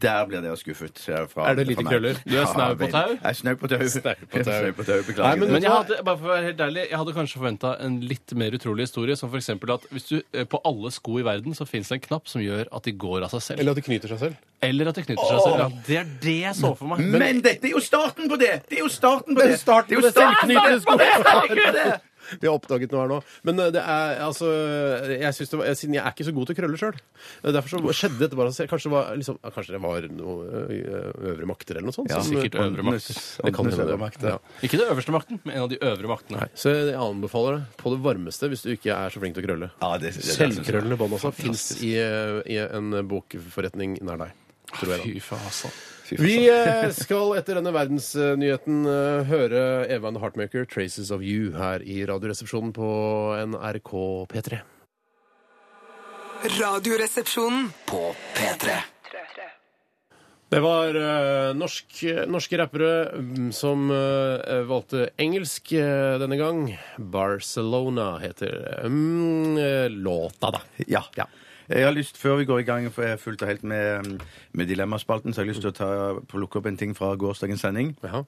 der blir dere skuffet. ser jeg Fra, Er det lite fra meg. krøller? Du er snau på veldig. tau? Jeg er snau på tau. Snau på Jeg er tau. <laughs> snau på tau, Beklager. Nei, men- det. Men jeg hadde, bare for å være helt ærlig, jeg hadde kanskje forventa en litt mer utrolig historie. Som f.eks. at hvis du, eh, på alle sko i verden så fins det en knapp som gjør at de går av seg selv. Eller at det knyter seg selv. Eller at de knytter seg selv. Ja, det er det jeg så for meg. Mm. Men dette er jo starten på det! Det er jo starten på Det er det! starten på det selvknytende starten på det! Vi har oppdaget noe her nå. Men eh, det er altså jeg synes det var, jeg, Siden jeg er ikke så god til krøller sjøl. eh, Derfor så skjedde dette bare av seg selv. Kanskje det var, liksom, ja, kanskje det var noe eh, øvre makter eller noe sånt? Ja, som- Sikkert øvre makt. Åndenes- Det kan åndenes hende. øvre makt, ja. Ja. Ikke det øverste makten, men en av de øvre maktene. Nei, så jeg anbefaler det på det varmeste hvis du ikke er så flink til å krølle. Ja, det- det- det- Selvkrøllende bånd altså fins i, eh, i en bokforretning nær deg. Tror jeg da. Fy faen. Fy faen. Vi eh, skal etter denne verdensnyheten eh, høre Eva and the Heartmaker, 'Traces of You', her i Radioresepsjonen på NRK P3. Radioresepsjonen på P3. Det var eh, norsk, norske rappere mm, som eh, valgte engelsk eh, denne gang. 'Barcelona' heter mm, eh, låta, da. Ja. Jeg har lyst, Før vi går i gang for jeg er fullt og helt med, mm, med Dilemmaspalten, så har jeg lyst til å ta, plukke opp en ting fra gårsdagens sending. Jaha.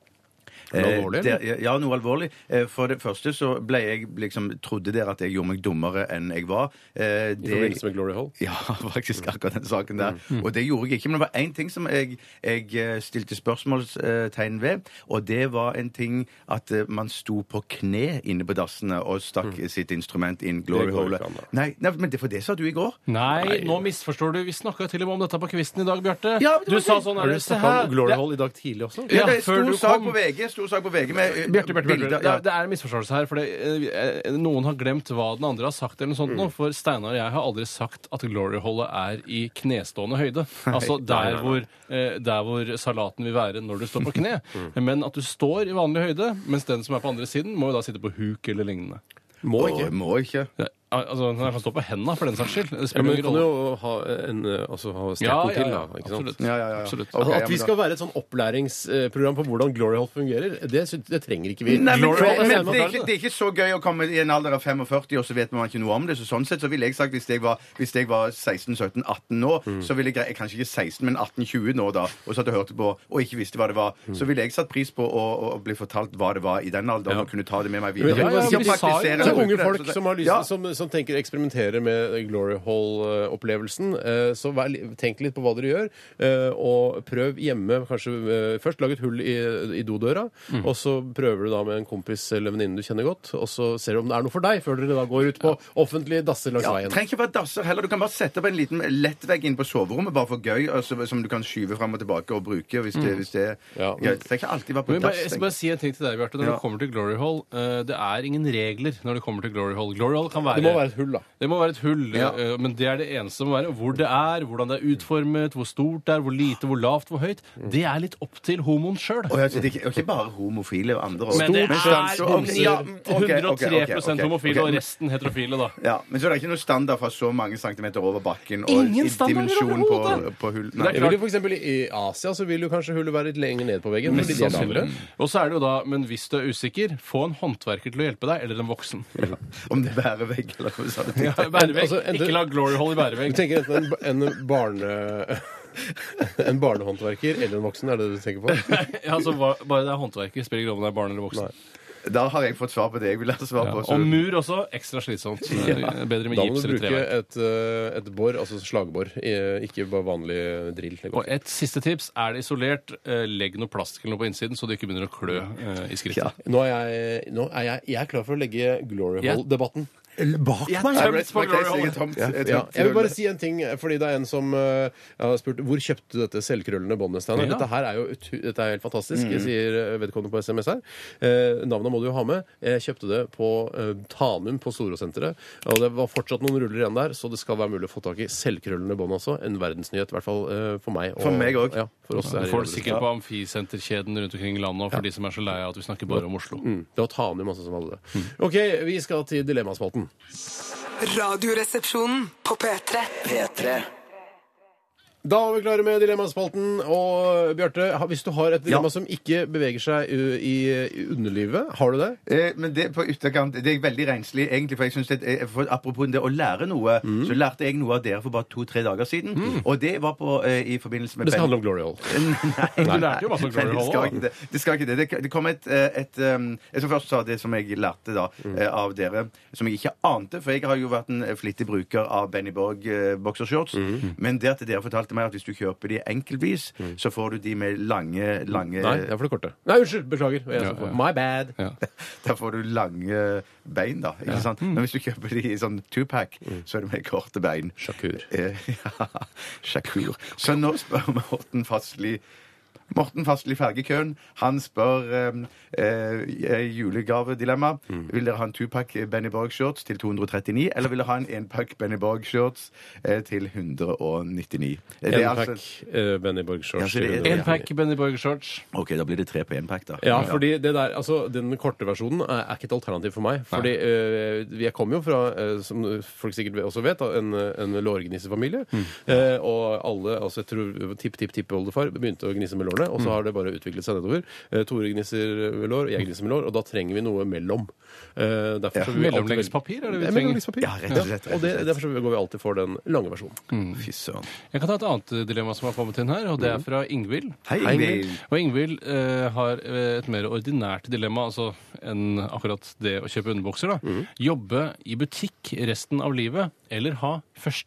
Eh, Noe alvorlig, eller? det- ja, noe alvorlig. Eh, For det første så ble jeg liksom Trodde dere at jeg gjorde meg dummere enn jeg var? Eh, I forbindelse med Mm. Glory Hall. Ja, <laughs> faktisk akkurat den saken der. Og det gjorde jeg ikke. Men det var én ting som jeg, jeg eh, stilte spørsmålstegn ved, og det var en ting at eh, man sto på kne inne på dassene og stakk sitt instrument inn glory Mm. Det går hole. ikke an, da. Nei, nei, men det, for det sa du i går. Nei, nå misforstår du. Vi snakka til og med om dette på kvisten i dag, Bjarte. Ja, men det du var sa det. sånn Har her, du se snakka her, om Glory det- Hall i dag tidlig også? Ja, Ja, det er før stor du sak kom. på VG stor sak på VG med eh, Bjarte, Bjarte, Bjarte, bilder. det, er- det er en misforståelse her. For det, eh, eh, noen har glemt hva den andre har sagt, eller noe sånt nå, for Steinar og jeg har aldri sagt at glory-holdet er i knestående høyde. Altså der hvor, eh, der hvor salaten vil være når du står på kne. Men at du står i vanlig høyde, mens den som er på andre siden, må jo da sitte på huk eller lignende. Må Å, ikke. Må ikke. Ja, Altså, Den kan stå på henda, for den saks skyld. Det Ja, spiller men kan ingen rolle. jo ha en eh, altså, ha ja, strekkord ja, til, ja, da. Ikke sant? absolutt. Ja, ja, ja. Absolutt. Ok, ja, At vi men da- skal være et sånn opplæringsprogram på hvordan Glory Hall fungerer, det, sy- det trenger ikke vi. Nei, men, Glory Hall er men, samme det, er opplæring, ikke, det er ikke så gøy å komme i en alder av 45, og så vet man ikke noe om det. Så sånn sett så ville jeg sagt, hvis jeg var, hvis jeg var 16-17-18 nå, Mm. så ville jeg grei- kanskje ikke 16, men 18-20 nå da, og satt og hørte på og ikke visste hva det var, Mm. så ville jeg satt pris på å, å bli fortalt hva det var i den alderen, og kunne ta det med meg videre. Ja, ja, Og men de sa så jo praktisere det. Til og unge bruke det. folk Så- som, har lyst, Ja. som, som tenker eksperimenterer med eh, Glory Hall-opplevelsen, eh, så vær, li- tenk litt på hva dere gjør, eh, og prøv hjemme kanskje eh, først. Lag et hull i, i dodøra, Mm. og så prøver du da med en kompis eller venninne du kjenner godt, og så ser du om det er noe for deg, før dere da går ut på offentlige dasser langs Ja, veien. trenger ikke være dasser heller. Du kan bare sette opp en liten lettvegg inn på soverommet bare for gøy, altså, som du kan skyve fram og tilbake og bruke hvis det, hvis det Ja. Ja, Det trenger ikke alltid være på Mm. Men bare, jeg dass. skal bare si en ting til deg, Bjarte. Når Ja. det kommer til Glory Hall, eh, det er ingen regler når det kommer til Glory Hall. Glory Hall kan være Det må være et hull, da. Det må være et hull, Ja. eh, men det er det eneste det må være. Hvor det er, hvordan det er utformet, hvor stort det er, hvor lite, hvor lavt, hvor høyt. Det er litt opp til homoen sjøl. Og jeg, det er ikke, og ikke bare homofile og andre også. Men det er så- ok, ja, mm, ok, ok, 103 ok, ok, homofile ok, og men- resten heterofile, da. Ja, Men så er det ikke noe standard fra så mange centimeter over bakken og Ingen i standarder dimensjon på, overhodet! på hull... Det er Jeg vil jo for eksempel I Asia så vil jo kanskje hullet være litt lenger ned på veggen. Litt sannsynlig. lavere. Og så er det jo da, men hvis du er usikker, få en håndverker til å hjelpe deg, eller en voksen. Om det bærer vegg eller noe sånt. Bærevegg. Altså, enten- Ikke la glory hall i Du bærevegg. tenker enten en, en barne... <laughs> En barnehåndverker eller en voksen, er det det du <laughs> tenker på? Ja, altså, ba- bare det er håndverker, spiller ikke rolle om det er barn eller voksen. Da har jeg fått svar på det jeg ville ha svar Ja, på. så- og mur også. Ekstra <laughs> slitsomt. Bedre med Da må gips du eller bruke treverk. et, eh, et bor, altså slagbor, i- ikke bare vanlig drill. Det går Og ikke. et siste tips. Er det isolert, eh, legg noe plastikk eller noe på innsiden, så du ikke begynner å klø eh, i skrittet. Ja. Nå er jeg, nå er jeg, jeg er klar for å legge Glory Hall-debatten. Jeg er meg. tømt for Glory Hall. Jeg er tømt. Jeg er Ja, tømt. jeg vil bare si en ting, fordi det er en som eh, har spurt hvor kjøpte du dette selvkrøllende båndet, Steinar. Ja. Dette her er jo utu- dette er helt fantastisk, sier eh, vedkommende på SMS her. Eh, navnet må du jo ha med. Jeg kjøpte det på eh, Tanum på Storosenteret, og det var fortsatt noen ruller igjen der, så det skal være mulig å få tak i selvkrøllende bånd også. En verdensnyhet, i hvert fall eh, for meg. og- For meg også. Ja, for oss Du er det får det veldig bra. sikkert på amfisenterkjeden rundt omkring i landet, og for de som er så lei av at vi snakker bare om Oslo. Mm, Det var Tanum altså som hadde det. OK, vi skal til Dilemmaspalten. Radioresepsjonen på P3. P3. Da var vi klare med Dilemmaspalten. Og Bjarte, ha- hvis du har et dilemma Ja. som ikke beveger seg u- i, i underlivet, har du det? Eh, Men det på ytterkant Det er veldig renslig, egentlig. For jeg synes det, eh, for Apropos det å lære noe, Mm. så lærte jeg noe av dere for bare to-tre dager siden. Og det var på, eh, i forbindelse med Det skal handle om Glory Hall. Nei, Du lærte jo masse om Glory Nei, det Hall, skal da. ikke det. Det skal ikke det. Det- Det kom et, eh, et um, Jeg skal først ta det som jeg lærte da, Mm. eh, av dere, som jeg Mm. ikke ante. For jeg har jo vært en flittig bruker av Benny Borg eh, boksershorts. eh, Men det at dere fortalte fortalte meg at hvis du kjøper de enkeltvis, så får du de med lange, lange Nei, det er for det korte. Nei, unnskyld! Beklager. Jeg sa Ja, ja. for- My bad. Ja. Der får du lange bein, da. Ikke sant? Mm. Men hvis du kjøper de i sånn tupac, så er det med korte bein. <laughs> Sjakur. Eh, ja, Sjakur. Så nå spør Morten Fastli Morten Fastli Fergekøen han spør eh, eh, julegavedilemma. Mm. Vil dere ha en tupac Benny Borg-shorts til 239, eller vil dere ha en enpakk Benny Borg-shorts eh, til 199? Det En er altså- pack eh, Benny Borg-shorts. Ja, så det er- til En pack Benny Borg-shorts. OK, da blir det tre på enpakk, da. Ja, fordi det der, altså, Den korte versjonen er, er ikke et alternativ for meg. Fordi eh, Jeg kommer jo fra, eh, som folk sikkert også vet, da, en, en lårgnissefamilie. Eh, og alle, altså jeg tror tipp-tipp-tippoldefar begynte å gnisse med lårene, og så har det bare utviklet seg nedover. Eh, Tore gnisser med lår, og jeg gnisser med lår, og da trenger vi noe mellom. Eh, derfor så vil vi alltid velge- Mellomleggspapir er det vi Ja, trenger. mellomleggspapir. Ja, rett og slett, rett og og det, slett. derfor så går vi alltid for den lange versjonen. Fy søren. Jeg kan ta et annet eh, dilemma som har kommet inn her, og det Mm. er fra Ingvild. Hei, Ingvild. Og Ingvild eh, har eh, et mer ordinært dilemma altså, enn akkurat det å kjøpe underbukser. Da. Mhm. Jobbe i butikk resten av livet, eller ha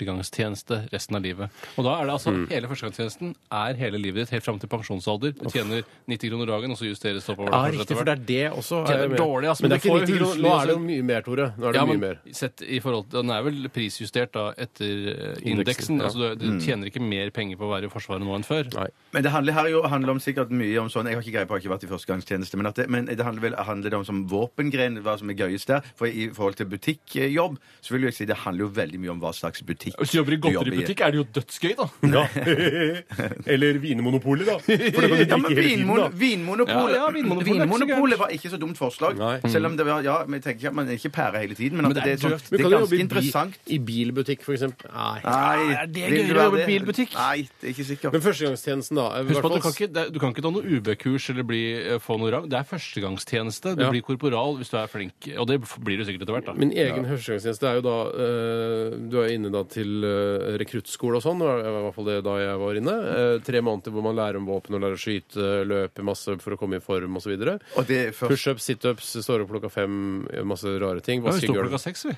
førstegangstjeneste resten av livet. Og da er det Mhm. altså hele førstegangstjenesten er hele livet ditt, helt fram til pensjonsalder. Du tjener 90 kroner dagen, og så justeres det Ja, oppover. kanskje riktig, etter for det er det også. Ja, det er dårlig, ass, men det men er ikke 90 du får jo kroner. husly Nå også. er det jo mye mer, Tore. Nå er det Ja, mye men mer. sett i forhold til, Den er vel prisjustert da etter eh, Indeksen, indeksen. ja. Mm. altså Du, du tjener ikke mer penger på å være i Forsvaret nå enn før. Nei. Men det handler her jo handler om sikkert mye om sånn Jeg har ikke greie på, jeg har ikke vært i førstegangstjeneste, men, at det, men det handler vel handler det om sånn våpengren, hva som er gøyest der. For i forhold til butikkjobb, så vil jeg si det handler jo veldig mye om hva slags butikk Hvis du jobber i godteributikk, er det jo dødsgøy, da. Ja. <laughs> Eller Vinmonopolet, da. For det kan du Ja, men drikke hele tiden, da. vinmon Vinmonopolet Ja, ja, Vinmonopolet er ikke så Vinmonopolet gærent. var ikke så dumt forslag. Nei. Selv om det var Ja, men jeg tenker ikke at man er ikke pære hele tiden, men Men at det det er er, sånn, døvt. det Men er kan du jobbe ganske i bi- interessant. I bilbutikk, for eksempel. Nei. Nei, Er Ah, det vil gøyere du være å jobbe i det? bilbutikk? Nei, det er ikke sikkert. Men førstegangstjenesten, da. i hvert Husk på at fall- du kan ikke, det er- du kan ikke ta noe UB-kurs eller bli, eh, få noe rang. Det er førstegangstjeneste. Du Ja. blir korporal hvis du er flink. Og det f- blir du sikkert etter hvert, da. Min egen førstegangstjeneste er jo da eh, Du er jo inne da til eh, rekruttskole og sånn, det var i hvert fall det da jeg var inne. Eh, tre måneder hvor man lærer om våpen og lærer å skyte, løpe masse for å komme i form osv. Og det er først Pushups, situps, står opp klokka fem, masse rare ting. Ja, vi Vaske står klokka gulv. seks, vi.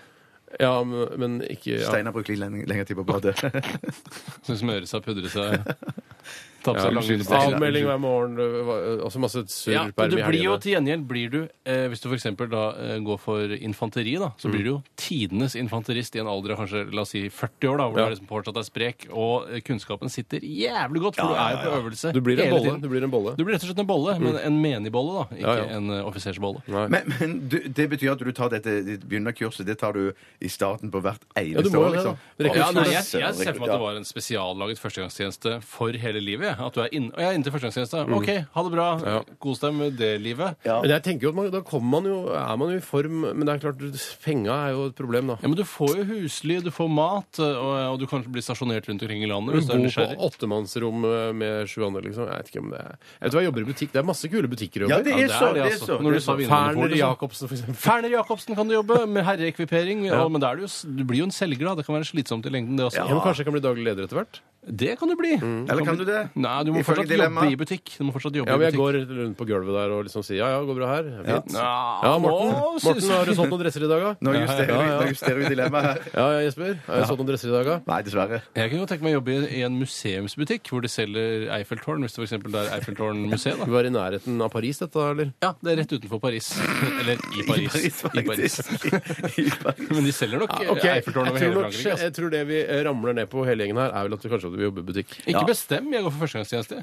Ja, men, men ikke ja. Steinar bruker litt lenge- lenger tid på å bade. Så smøre seg, pudre seg, <laughs> ta på Ja, seg lange unnskyld, underbukser. Avmelding hver morgen, øh, hva- altså masse surr Ja, ja, men i du blir jo helgene. til gjengjeld blir du, eh, Hvis du f.eks. Eh, går for infanteri, da, så Mm. blir du jo tidenes infanterist i en alder av kanskje la oss si 40 år, da, hvor Ja. du liksom fortsatt er sprek, og eh, kunnskapen sitter jævlig godt, for du er jo på <laughs> øvelse Du blir en hele bolle. tiden. Du blir en bolle. Du blir rett og slett en bolle, men en menig bolle, da. Ikke Ja, ja. en eh, offisersbolle. Nei. Men, men du, det betyr at du tar dette ditt begynnerkurset det tar du i starten på hvert eneste du må jo år? det, da. liksom. Det rekker Ja, jo nei, skole. jeg, jeg ser for meg at det var en spesiallaget førstegangstjeneste for hele livet. jeg. At du er inn, og jeg er inne til førstegangstjeneste. OK, ha det bra. Mm. Ja. Kos deg med det livet. Ja. Men jeg tenker jo at man, da kommer man jo, er man jo i form, men det er klart, penga er jo et problem, da. Men du får jo husly, du får mat, eh, og, og du kan bli stasjonert rundt omkring i landet hvis du Bo er på nysgjerrig. åttemannsrom øh, med sju andre, liksom. Jeg vet ikke om det er Jeg vet du hva, jeg jobber i butikk. Det er masse kule butikker å Ja, jobbe det i. er så! det, Det er altså. så. Når du sa Ferner Vinmonopolet, så- Jacobsen, for eksempel. Ferner Jacobsen kan du jobbe med herreekvipering, og- men da er du, jo s- du blir jo en selger, da. Det kan være slitsomt i lengden, det også. Ja, men kanskje jeg kan bli daglig leder etter hvert? Det kan du bli. Eller kan du det? Nei, du må fortsatt Ifølge dilemma. jobbe i butikk. Du må fortsatt jobbe Ja, men i jeg butikk. går rundt på gulvet der og liksom sier ja, ja, går bra her. Fint. Ja, Ja, Morten, nå synes Morten jeg- har du solgt noen dresser i dag, da? Nå justerer, Ja, ja. Vi, nå justerer vi dilemmaet her. Ja, ja, Jesper, har du solgt noen dresser i dag, da? Nei, dessverre. Jeg kunne godt tenke meg å jobbe i- i en museumsbutikk hvor de selger Eiffeltårn, hvis det for eksempel er Eiffeltårn-museet, <laughs> da. Vi var i nærheten av Paris, dette, da, eller? Ja, det er rett utenfor Paris. <laughs> Eller i Paris. I Paris. faktisk. <laughs> I Paris. Men de selger nok Ok, jeg Eiffeltårn over hele tror, nok, Frankrike. altså. jeg tror det vi eh, ramler ned på hele gjengen her, er vel at vi kanskje vil jobbe i butikk. Ikke bestem, jeg går for førstegangstjeneste.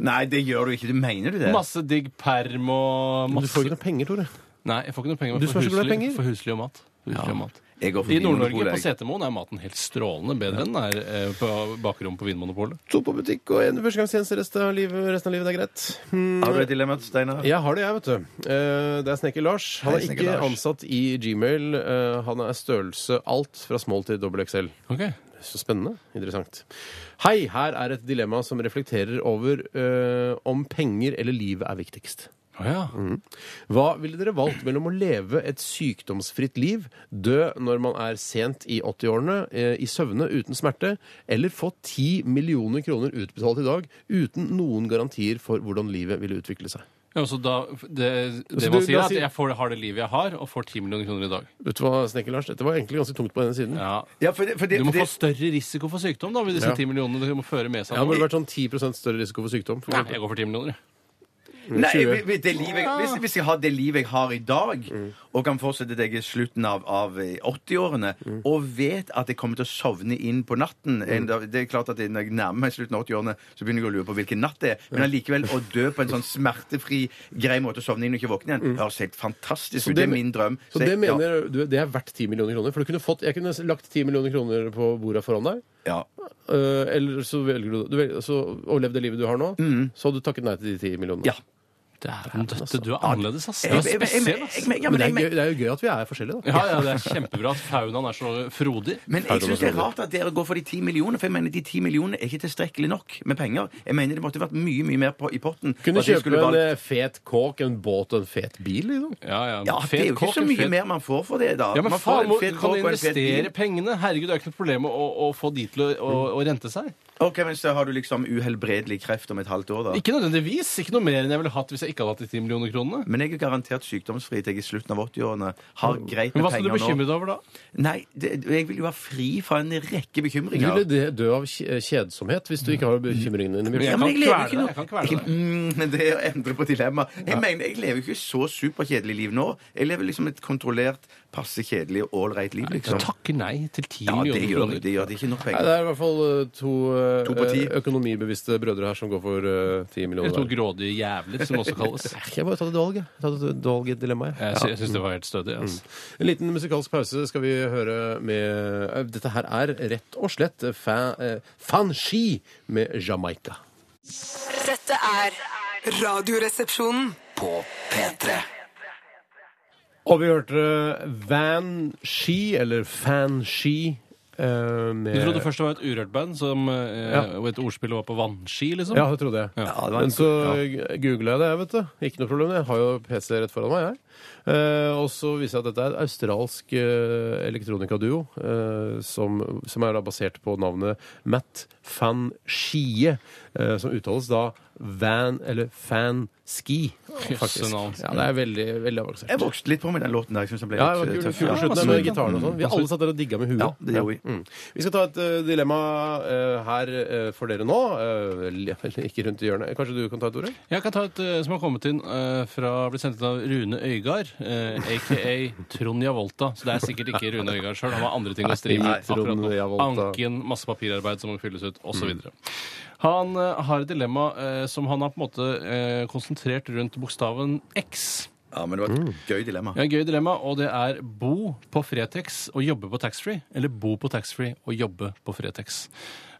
Nei, det gjør du ikke. Du mener du det? Masse digg perm og Men du masse får ikke noe penger, Tore. Nei, jeg får ikke noe penger. men Du for som er så glad i husly- penger. For husly og mat. For Husly og mat. Jeg går for I Nord-Norge, Vinmonopolet, på jeg. Setermoen, er maten helt strålende bedre enn den er eh, på bakrommet på Vinmonopolet. To på butikk og en førstegangstjeneste resten av livet, resten av livet det er greit. Hmm, Har du et dilemma, Steinar? Jeg har det, jeg, vet du. Eh, Det er Snekker Lars. Han Hei, er Snekker ikke Lars. ansatt i Gmail. Eh, Han er størrelse alt fra small til dobbel XL. Så spennende. Interessant. Hei, her er et dilemma som reflekterer over eh, om penger eller livet er viktigst. Å ja. Hva ville dere valgt mellom å leve et sykdomsfritt liv, dø når man er sent i 80-årene, eh, i søvne uten smerte, eller få 10 millioner kroner utbetalt i dag uten noen garantier for hvordan livet ville utvikle seg? Ja, så da, det det Så man du- sier, da er at sier- jeg får, har det livet jeg har, og får 10 millioner kroner i dag. Vet du hva, Snekker Lars, dette var egentlig ganske tungt på denne siden. Ja. Ja, for det, for det, Du må for få det, større risiko for sykdom da, ved disse Ja. 10 millionene du må føre med seg. Ja, det burde nå. vært sånn 10 større risiko for sykdom. For Nei, eksempel. jeg går for 10 millioner. jeg. nei, 20. vi- vi- det livet, jeg- hvis, hvis jeg har det livet jeg har i dag, og kan fortsette det i slutten av, av eh, 80-årene, og vet at jeg kommer til å sovne inn på natten en, dag- Det er klart at Når jeg nærmer meg slutten av 80-årene, så begynner jeg å lure på hvilken natt det er. Men allikevel å dø på en sånn smertefri, grei måte å sovne inn og ikke våkne igjen, høres helt fantastisk ut. Det er min drøm. Så det mener du, det er verdt 10 millioner kroner? For du kunne fått, jeg kunne lagt 10 millioner kroner på bordet foran deg. ja, ja. øh, eller så velger du, du velger, så overlev det livet du har nå. Mm. Så hadde du takket nei til de 10 millionene. Ja. Dæven døtte, du er annerledes, ass. Du Jeg- er jeg- jeg- spesiell, jeg- ass. jeg- ja, Men det men er, jeg- gøy, det er jo gøy at vi er forskjellige, da. Ja, ja, det er kjempebra at faunaen er så frodig. Men jeg syns det er rart at dere går for de ti millionene, for jeg mener de ti millionene er ikke tilstrekkelig nok med penger. Jeg mener det måtte vært mye, mye mer på, i potten. Kunne og at jeg kjøpe skulle en valgt- eh, fet kåk, en båt og en fet bil, liksom. Ja, ja. Ja, det Fet er jo ikke kåk, så en mye fet- mer man får for det, da. Ja, men man faen, får en må, fet kan kåk du og en fet investere bil. pengene? Herregud, det er ikke noe problem å, å, å få de til å, å, å rente seg. Ok, men så har du liksom uhelbredelig kreft om et halvt år, da. Ikke nødvendigvis. Ikke noe mer enn jeg ville hatt hvis jeg ikke hadde hatt de 10 millioner kronene. Men jeg er garantert sykdomsfri til jeg i slutten av 80-årene har greit Men med hva skal du penger bekymre nå. deg over da? Nei, det, jeg vil jo være fri fra en rekke Du bekymringer. ville de- dø av kje- eh, kjedsomhet hvis du ikke har bekymringene dine. Men jeg Ja, Bjørte. kan men jeg lever kvele ikke deg, noe- jeg kan kvele Jeg- deg. Mm, men det er å endre på dilemma. Jeg mener, jeg lever jo ikke så superkjedelig liv nå. Jeg lever liksom et kontrollert, passe kjedelig og ålreit liv, Du liksom. takker nei til 10 Ja, det millioner gjør jeg. kroner. Det gjør det ikke nok Nei, penger. det er i hvert fall eh, to, eh, To på ti. eh, økonomibevisste brødre her som går for eh, 10 Eller millioner to hver. grådige jævler, som <laughs> også kalles. Jeg, Jeg bare tar det valget. Jeg tar det valget dilemmaet. jeg. sy- jeg syns det var helt Mm. stødig. ass. En liten musikalsk pause skal vi høre med eh, Dette her er rett og slett fan, eh, Fanchi med Jamaica. Dette er Radioresepsjonen på P3. Og vi hørte eh, Van She, eller Fan She, eh, med Du trodde først det var et urørt band, som eh, Ja. og et ordspill var på vannski, liksom? Ja, det trodde jeg. Ja, det var en- Men så googla jeg det, jeg, vet du. Ikke noe problem. Jeg har jo PC rett foran meg, jeg. Eh, og så viser jeg at dette er et australsk uh, elektronikaduo eh, som, som er da basert på navnet Matt Van Schie, eh, som uttales da Van eller Fan Ski, faktisk. Jøsse navn. Ja, det er veldig, veldig avansert. Jeg vokste litt på med den låten der. Jeg synes den ble Ja, litt, det var eh, kul, tøff. kul på Ja, slutten der med gitaren og sånn. Vi Ja. alle satt der og digga med huet. Ja, det gjorde vi. Mm. Vi skal ta et eh, dilemma eh, her eh, for dere nå. Eh, <laughs> li- ikke rundt i hjørnet. Kanskje du kan ta et ord? Jeg kan ta et eh, som har kommet inn eh, fra blitt sendt inn av Rune Øygard, eh, aka Trond Javolta. Så det er sikkert ikke Rune Øygard sjøl. Han har andre ting å stri Nei, med. akkurat nå. Trond Javolta. Mm. Anken, masse papirarbeid som må fylles ut, osv. Han eh, har et dilemma eh, som han har på en måte eh, konsentrert rundt bokstaven X. Ja, men det var et gøy dilemma. Mm. Ja, Gøy dilemma, og det er bo på Fretex og jobbe på taxfree, eller bo på taxfree og jobbe på Fretex.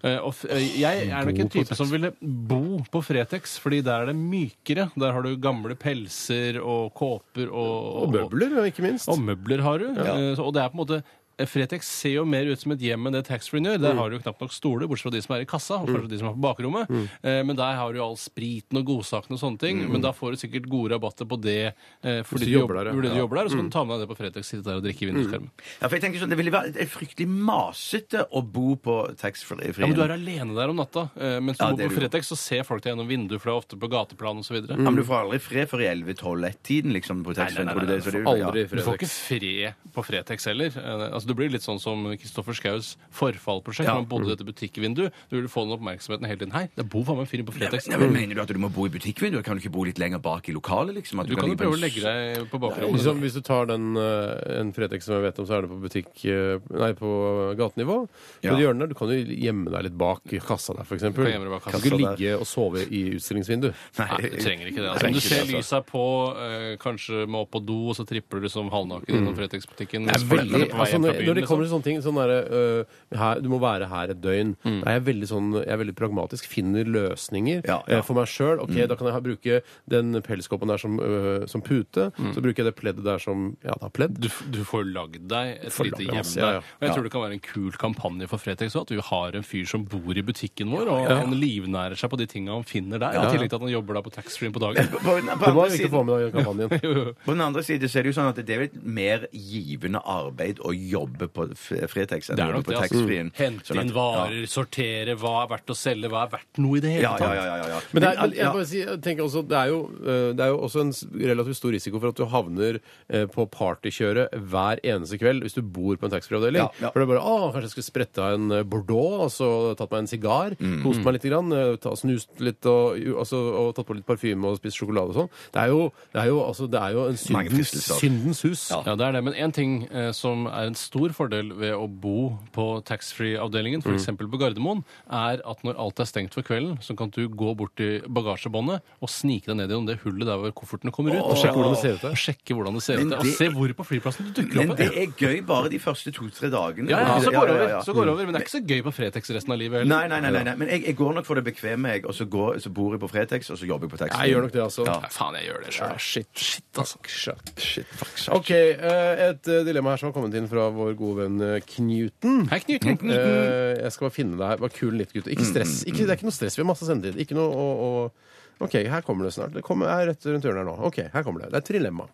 Eh, og f eh, jeg er nok en type som ville bo på Fretex, fordi der er det mykere. Der har du gamle pelser og kåper og Og møbler, ikke minst. og møbler har du. Eh, så- Og det er på en måte Fretex ser jo mer ut som et hjem enn det taxfree gjør. Mm. Der har du jo knapt nok stoler, bortsett fra de som er i kassa, og kanskje de som er på bakrommet. Mm. Eh, Men der har du jo all spriten og godsakene og sånne ting. Men da får du sikkert gode rabatter på det eh, fordi du du, jobber jobber, der, ja. fordi du Ja. jobber der. Og så Mm. kan du ta med deg det på Fretex, sitte der og drikke i vinduskarmen. Ja, for jeg tenker sånn, Det ville vært fryktelig masete å bo på taxfree. Ja, men du er alene der om natta. eh, Mens du Ja, bor det er på du. Mm. Fretex, så ser folk deg gjennom vinduet, for det er ofte på gateplan osv. Ja, men du får aldri fred før i 11-12-1-tiden, liksom, på taxfree. nei, nei, tror du nei, det? Så det- Aldri ja. Du får ikke Fredrik. fred på Fretex heller. Eh, Altså, du blir litt sånn som Kristoffer Schous forfallprosjekt. Når han bodde i dette butikkvinduet. Du ville få den oppmerksomheten hele tiden. Hei, det bor faen meg en fyr på Fretex. Nei, men Mener du at du må bo i butikkvinduet? Kan du ikke bo litt lenger bak i lokalet? liksom? At Du kan jo prøve å legge deg på bakrommet. Liksom, hvis du tar den, eh, en Fretex som jeg vet om, så er det på butikk eh, Nei, på gatenivå. På Ja. det hjørnet der, Du kan jo gjemme deg litt bak i kassa der, f.eks. Du kan gjemme deg bak kan kassa ikke der. ligge og sove i utstillingsvindu. Nei, du trenger ikke det. Altså, Trenger men du ikke ser det, altså. lysa på, eh, kanskje må opp på do, og så tripper du som halvnaken innom Fretex-butikken. Jeg er veldig, På vei altså, hjem fra når, byen, når det liksom. Mm. kommer til sånne ting sånn derre, øh, her, Du må være her et døgn. Da er jeg, veldig sånn, jeg er veldig pragmatisk. Finner løsninger Ja, ja. eh, for meg sjøl. Ok, Mm. Da kan jeg ha, bruke den pelskåpen der som, øh, som pute. Så bruker jeg det pleddet der som Ja, da pledd. Mm. du, f- du får lagd deg et Får lite lagd hjem masse, ja, der. ja. Og jeg tror det kan være en kul kampanje for Fretex også, at vi har en fyr som bor i butikken vår, og han livnærer seg på de tinga han finner der, i tillegg til at han jobber da på taxfree på dagen. På, på, den- på Det andre var ikke siden, på med den kampanjen. på den andre siden så er det jo sånn at det er jo et mer givende arbeid å jobbe på f- Fretex Det eller er jobbe nok på det, taxfree-en. altså. Hente Sånn at- inn varer, sortere, hva er verdt å selge, hva er verdt noe i det hele Ja, ja, tatt. ja. ja, ja, ja. Men det er, men ja. jeg, bare si, jeg tenker også, det, er jo, eh, det er jo også en s- relativt stor risiko for at du havner eh, på partykjøret hver eneste kveld hvis du bor på en taxfree-avdeling. Ja, ja. For det er bare å, kanskje jeg skulle sprette av en eh, Bordeaux og så tatt meg en sigar, Mm. kost meg litt, grann, eh, ta, snust litt og, jo, altså, og tatt på litt parfyme og spist sjokolade og sånn. Det er jo, det er jo, altså, det er jo en Mange syndens, altså. fristelser. syndens hus. Ja, det er det. Men én ting eh, som er en stor fordel ved å bo på taxfree-avdelingen, Mm. f.eks. på Gardermoen, er at når alt er stengt for kvelden, så kan du gå bort til bagasjebåndet og snike deg ned gjennom det hullet der hvor koffertene kommer ut. Og sjekke hvordan det ser ut der. Og sjekke hvordan det ser Men ut der. det- Og se hvor på flyplassen du dukker Men opp. det er gøy bare de første to-tre dagene. Ja, ja, så går det Ja, ja, over. ja. Mm. Så går det over. Men det er ikke så gøy på Fretex resten av livet heller. Nei, nei, nei, nei, nei. men jeg, jeg går nok for det bekvemme, jeg. Og så, går, så bor jeg på Fretex, og så jobber jeg på taxfree. Jeg gjør nok det, altså. Ja. Nei, faen, jeg gjør det sjøl. shit. Shit, altså. Shit, fuck, shit. OK, eh, et eh, dilemma her som har kommet inn fra vår gode venn eh, Knuten. Hei, Knut. Knut, Knut. Eh, jeg skal bare finne deg. Bare kul litt, gutter. Ikke stress. Ikke, det er ikke noe stress. Vi har masse sendetid. Ikke noe å, å... OK, her kommer det snart. Det kommer, er rett rundt hjørnet her nå. OK, her kommer det. Det er et trilemma.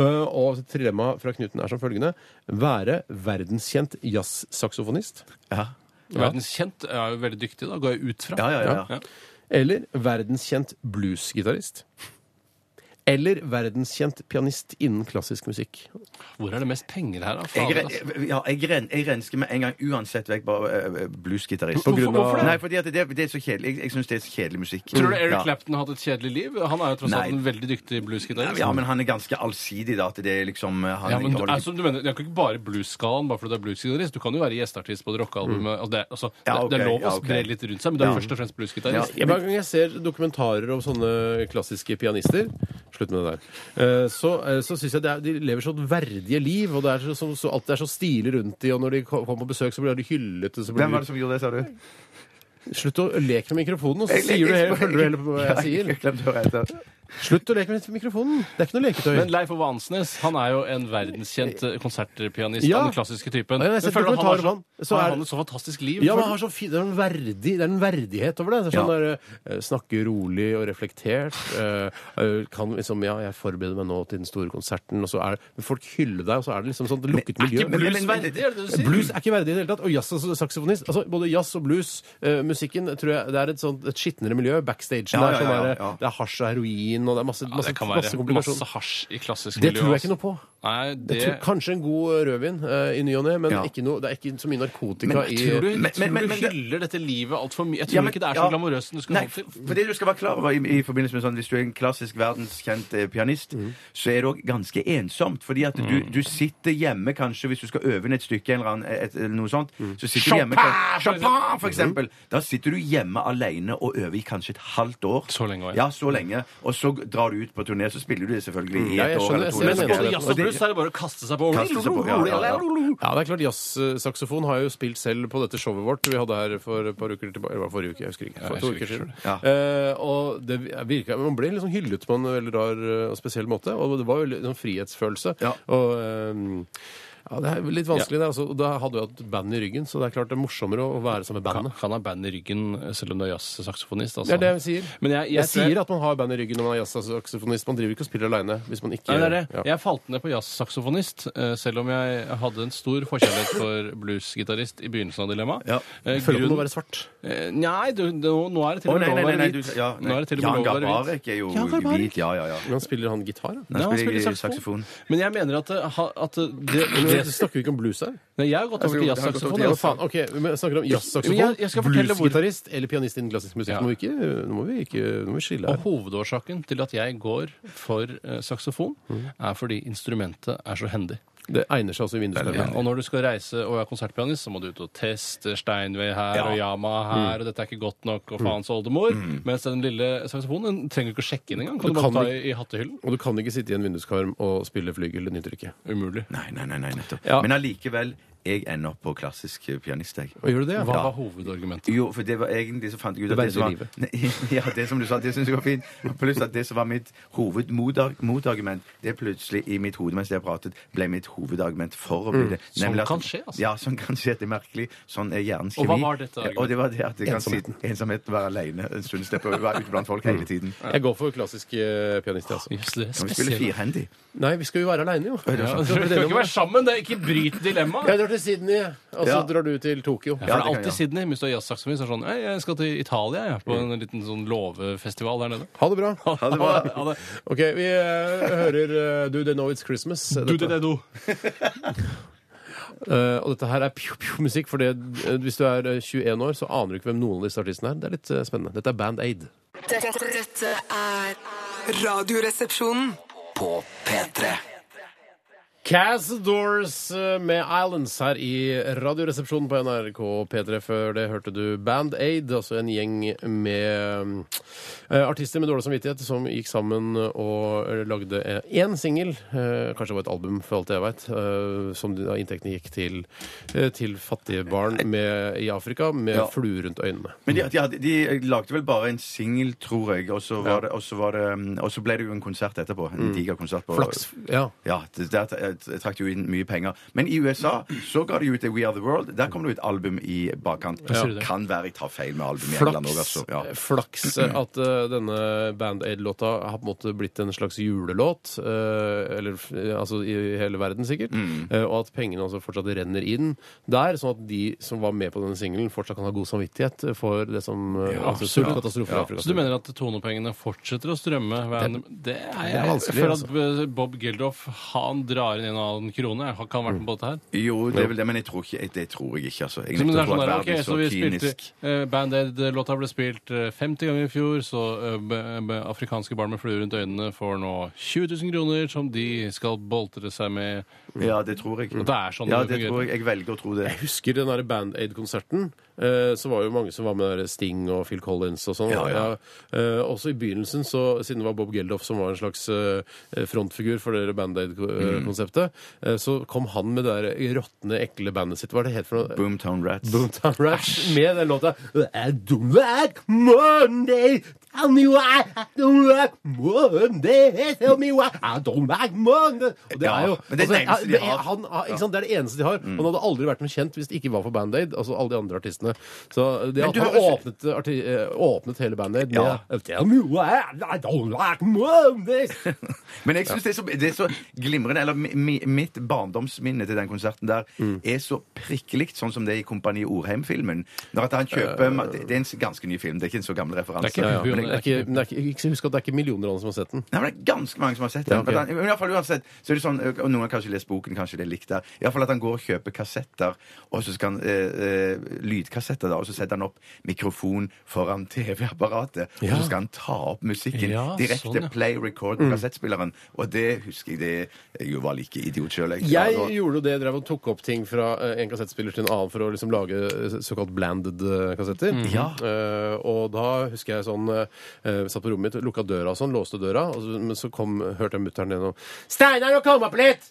Eh, og trilemmaet fra Knuten er som følgende. Være verdenskjent jazzsaksofonist. Ja. Verdenskjent er jo veldig dyktig, da, går jeg ut fra. Ja, ja, ja, ja. Ja. Eller verdenskjent bluesgitarist. Eller verdenskjent pianist innen klassisk musikk. Hvor er det mest penger her, da? Jeg, Fader, ren- altså. ja, jeg, ren, jeg rensker med en gang uansett vekk bare eh, bluesgitarist. På grunn av- Hvorfor det? Nei, fordi at det, det er så kjedelig. Jeg, jeg syns det er så kjedelig musikk. Tror du Eric Ja. Clapton hadde et kjedelig liv? Han er jo tross Nei. alt en veldig dyktig bluesgitarist. Ja, men han er ganske allsidig, da. At det er liksom eh, han, Ja, men du, holder- altså, du mener, det er jo ikke bare blues-skalaen bare fordi du er blues-gitarist. Du kan jo være gjesteartist på et rockealbum. Altså, det, er- altså, Ja, det- det er ok, lov å ja, ok. spre litt rundt seg, men du er først og fremst blues-gitarist. Ja, Hver gang jeg ser dokumentarer om sånne klassiske pianister Slutt med det der. eh, Så, eh, så syns jeg det er, de lever så verdige liv, og det er så, så, så, alt er så stilig rundt de, og når de ko- kommer på besøk, så blir de hyllet og så blir Hvem var det som gjorde det, sa du? Slutt å leke med mikrofonen, og så sier du hele, følger du hele <laughs> på hva jeg sier. Glemte å rette. Slutt å leke med mikrofonen! Det er ikke noe leketøy. Men Leif Ove Ansnes han er jo en verdenskjent eh, konsertpianist Ja. av den klassiske typen. Ja, jeg har sett Men føler du at han har dokumentarer om han, så så, har er- han et så fantastisk liv. ja, Føler- men har så fi, det, er en verdig, det er en verdighet over det. det er sånn Ja. der, eh, snakke rolig og reflektert. eh, eh, kan liksom, ja, jeg forbereder meg nå til den store konserten, og så er men folk hyller deg, og så er det liksom sånn lukket miljø. Eh, men- Blues, men- det er det du sier. Blues er ikke verdig i det hele tatt. Og jazz og saksofonist. Altså, både jazz og blues, eh, musikken, tror jeg det er et, sånt, et skitnere miljø. Backstagen det Ja, er ja, sånn ja, der, ja. Det er hasj og heroin, og det er masse, Ja, masse, det kan masse være masse komplikasjoner. hasj i klassisk Det miljø, tror jeg altså. ikke noe på. Nei, Jeg tror, det kanskje en god rødvin eh, i ny og ne, men Ja. ikke noe, det er ikke så mye narkotika i Tror du, Men- men- men- tror men du det- hyller dette livet altfor mye? Jeg tror Ja, men- ikke det er så ja. glamorøst som du skulle Nei, holdt til. for det du skal være klar over i, i forbindelse med sånn Hvis du er en klassisk verdenskjent eh, pianist, så er det òg ganske ensomt. Fordi at du, Mm. du sitter hjemme kanskje hvis du skal øve inn et stykke eller annet, et, eller noe sånt så sitter du hjemme, Chopin, for Chopin, for eksempel! Da sitter du hjemme alene og øver i kanskje et halvt år. Så lenge også, ja. ja. så lenge. Og så drar du ut på turné, så spiller du det Mm. selvfølgelig i Ja, jeg et år skjønner, eller jeg to. ser det. eller Både noe sånt. jazz og blues er det bare å kaste seg på. Kaste seg på, ja, ja, ja. Ja, det er klart jazzsaksofon har jo spilt selv på dette showet vårt vi hadde her for et par uker tilbake. Eller var det forrige uke, jeg husker ikke. For jeg to husker uker ikke siden. selv. Eh, og det virka Man ble liksom hyllet på en veldig rar eh, og spesiell måte, og det var jo litt sånn frihetsfølelse. Ja. Og eh, ja, Det er litt vanskelig. det, altså, Da hadde vi hatt band i ryggen, så det er klart det er morsommere å være sammen med Han, bandet. han har band i ryggen eh, selv om du er jazzsaksofonist. Altså. Det er det jeg sier. Men jeg, jeg, Jeg sier at man har band i ryggen når man er jazzsaksofonist. Man driver ikke og spiller aleine hvis man ikke Nei, det er det. Ja. Jeg falt ned på jazzsaksofonist, eh, selv om jeg hadde en stor forkjærlighet for bluesgitarist i begynnelsen av Dilemma. Ja. Eh, Jeg føler at man må grunnen- være svart. Eh, Nei, du, det, nå, nå er det til Å, og med nei, lov nei, å nei, nei, være du, hvit. ja, Nå nei. er det til og med lov Jan å være hvit. Gabarek er jo Jan Gabarek. hvit. Ja, ja, ja. Hvordan spiller han gitar? da? Ja, Han han spiller spiller i saksofon. Men jeg mener at, eh, ha- at eh, det, det, Men Snakker vi ikke om blues her? Nei, Jeg har gått over til Jeg har gått over jazzsaksofon. til jeg. jazz. Faen, ok, men jeg snakker om Men jeg- jazzsaksofon, jeg skal fortelle hvor- bluesgitarist eller pianist innen klassisk musikk. Ja. Nå, må vi ikke, nå må vi ikke nå må vi skille Og her. hovedårsaken til at jeg går for eh, saksofon, er fordi instrumentet er så hendig. Det egner seg altså i Ja, vinduskarmen. og når du skal reise og er konsertpianist, så må du ut og teste Steinway her og Yamaha her, og dette er ikke godt nok, og faens oldemor. Mens den lille saksofonen den trenger du ikke å sjekke inn engang. Du Kan du, bare kan ta i, ikke- i hattehyllen? Og du kan ikke sitte i en vinduskarm og spille flygel. Det nytter ikke. Umulig. Nei, nei, nei, nei nettopp. Ja. Men allikevel jeg ender opp på klassisk pianist, jeg. Og gjør du det? Hva var hovedargumentet? Jo, for det var egentlig så fant jeg ut Du at det som var berger Nei, <laughs> Ja, det som du sa, det syns jeg var fint. Pluss at det som var mitt hovedmotargument, det plutselig i mitt hode mens jeg pratet, ble mitt hovedargument for å bli det. Sånn Nemlig at- kan skje, altså. Ja, sånn kan skje. Det er merkelig. Sånn er hjernens Og kjemi. hva var dette argumentet? Og det var det at det kan sitte ensomhet, være aleine en stund, slippe å være ute blant folk Mm. hele tiden. Jeg går for klassisk eh, pianist, jeg, altså. Jøss, det er Kan vi spille spesielt. firhendig? Nei, vi skal jo være aleine, jo. Ja, dere kan ikke være sammen! det er Ikke bryt Jeg dilemmaet! drar til Sydney, og så Ja. drar du til Tokyo. For det det er kan alltid jeg. Sydney. Hvis du har jazzsaksofon, så er det sånn «Ei, Jeg skal til Italia, jeg. På en liten sånn låvefestival der nede. Ha det bra. Ja, det var Ha det. <laughs> OK, vi eh, hører eh, Do They Know It's Christmas. Dette- Eh, og dette her er pjo-pjo-musikk, for det, eh, hvis du er eh, 21 år, så aner du ikke hvem noen av disse artistene er. Det er litt eh, spennende. Dette er Band Aid. Dette, dette er Radioresepsjonen. På P3. Cass Doors eh, med Islands her i Radioresepsjonen på NRK P3. Før det hørte du Band Aid, altså en gjeng med mm, eh, artister med dårlig samvittighet som gikk sammen og eh, lagde eh, én singel, eh, kanskje det var et album for alt jeg veit, som de- da inntektene gikk til, eh, til fattige barn med, i Afrika med Ja. flue rundt øynene. Men Mm. de, de, hadde- de lagde vel bare en singel, tror jeg, og så, var det, og, så var det, mm, og så ble det jo en konsert etterpå. Mm. En diger konsert. på... Flaks. Ja. Ja, det- der t- eh, trakk de jo inn mye penger. Men i USA så ga de ut We Are The World. Der kom det jo et album i bakkant. sier du det? Kan være jeg tar feil med album i England òg, Flaks, altså. Ja. Mm. flaks at eh, denne Band Aid-låta har på en måte blitt en slags julelåt. eh, eller f- eh, altså i hele verden, sikkert. Mm. Eh, og at pengene altså fortsatt renner inn der, sånn at de som var med på denne singelen, fortsatt kan ha god samvittighet for det som eh, altså, sult og katastrofe i Afrika. Så du mener at tonopengene fortsetter å strømme? hver- det Det er, er jeg vanskelig, føler at eh, Bob Geldof han drar inn en og annen krone. Jeg har ikke han vært med på dette her. Jo, det er vel det, men jeg tror ikke, det tror jeg ikke, altså. Jeg Så, Eh, men det nekter er å tro sånn at der, verden ok, er så vi spilte kynisk. eh, Band Aid-låta ble spilt eh, 50 ganger i fjor, så eh, b- b- afrikanske barn med flue rundt øynene får nå 20 000 kroner som de skal boltre seg med. Ja, det tror jeg. Mm. det er sånn ja, det det fungerer. tror jeg. Jeg velger å tro det. Jeg husker den der Band Aid-konserten. eh, Så var jo mange som var med der Sting og Phil Collins og sånn. Ja, ja. Eh, Også i begynnelsen, så, siden det var Bob Geldof som var en slags eh, frontfigur for det der Band Aid-konseptet, Mm. eh, så kom han med det der råtne, ekle bandet sitt. Hva er det het for noe? Boomtown Rats. Boomtown Rush med den låta I don't like Monday Tell me why I don't like Monday Tell me why I don't like Monday Og det Ja, er jo altså, men det er det eneste de har. Han, Mm. han, ikke sant, det er det eneste de har. Han hadde aldri vært noe kjent hvis det ikke var for Band Aid. Altså alle de andre artistene. Så det Men at du han har jo åpnet, arti, eh, åpnet hele Band Aid Ja. med Tell me why I don't like <laughs> Monday Men jeg synes det, er så, det er så glimrende Eller mi, mi, mitt barndomsminne til den konserten der Mm. er så prikkelikt sånn som det er i Kompani Orheim-filmen. Når at han kjøper ma- det, det er en s- ganske ny film, det er ikke en så gammel Eh. referanse. Det er ikke- Men Men det er ikke, men det er ikke, husk at det er ikke millioner av dem som har sett den. Nei, men det er ganske mange som har sett den. Ja, ok. At han- men i hvert fall uansett, så er det sånn, og Noen har kanskje lest boken, kanskje det er likt der. I hvert fall at han går og kjøper kassetter, og så skal han, eh, eh, lydkassetter, da, og så setter han opp mikrofon foran TV-apparatet. Ja. Og så skal han ta opp musikken Ja, direkte. sånn, ja. Play record på kassettspilleren. Og det husker jeg det Jeg jo var like idiot sjøl, jeg. Jeg Ja, og- gjorde jo det, drev og tok opp ting fra eh, en kassettspiller til en annen for å liksom lage eh, såkalt blanded eh, kassetter. Mhm. Ja. Eh, og da husker jeg sånn eh, eh, Satt på rommet mitt, lukka døra og sånn, låste døra, og så, men så kom, hørte jeg mutter'n gjennom 'Steinar, nå kom opp litt!'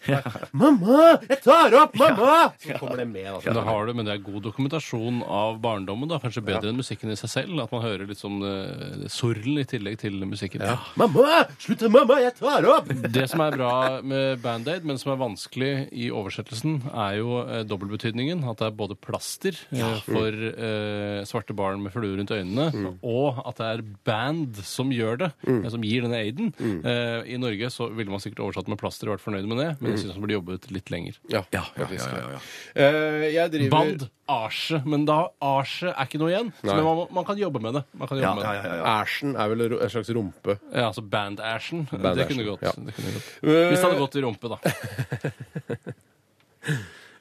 'Mamma, jeg tar opp! Mamma!' Så kommer det med. Altså. Men det har du, men det er god dokumentasjon av barndommen. da, Kanskje bedre enn musikken i seg selv. At man hører litt sånn eh, sorlen i tillegg til musikken. 'Mamma! Slutt, mamma! Jeg tar opp!' Det som er bra med Band-Aid, men som er vanskelig i oversettelsen, er jo eh, dobbeltbetydningen. At det er både plaster eh, for eh, svarte barn med flue rundt øynene, og at det er band som gjør det, eh, som gir denne aiden. Eh, I Norge så ville man sikkert oversatt med plaster og vært fornøyd med det, men jeg syns man burde jobbet litt lenger. Ja, ja, ja, ja, ja, ja. Eh, jeg driver Band, asje, men da asje er ikke noe igjen. Så Nei. men man, man kan jobbe med det. Man kan jobbe Ja, med ja, det. ja, ja, ja. Æsjen er vel en slags rumpe. Ja, altså band-asjen. det kunne gått. ja. Det kunne gått. Hvis det hadde gått i rumpe, da.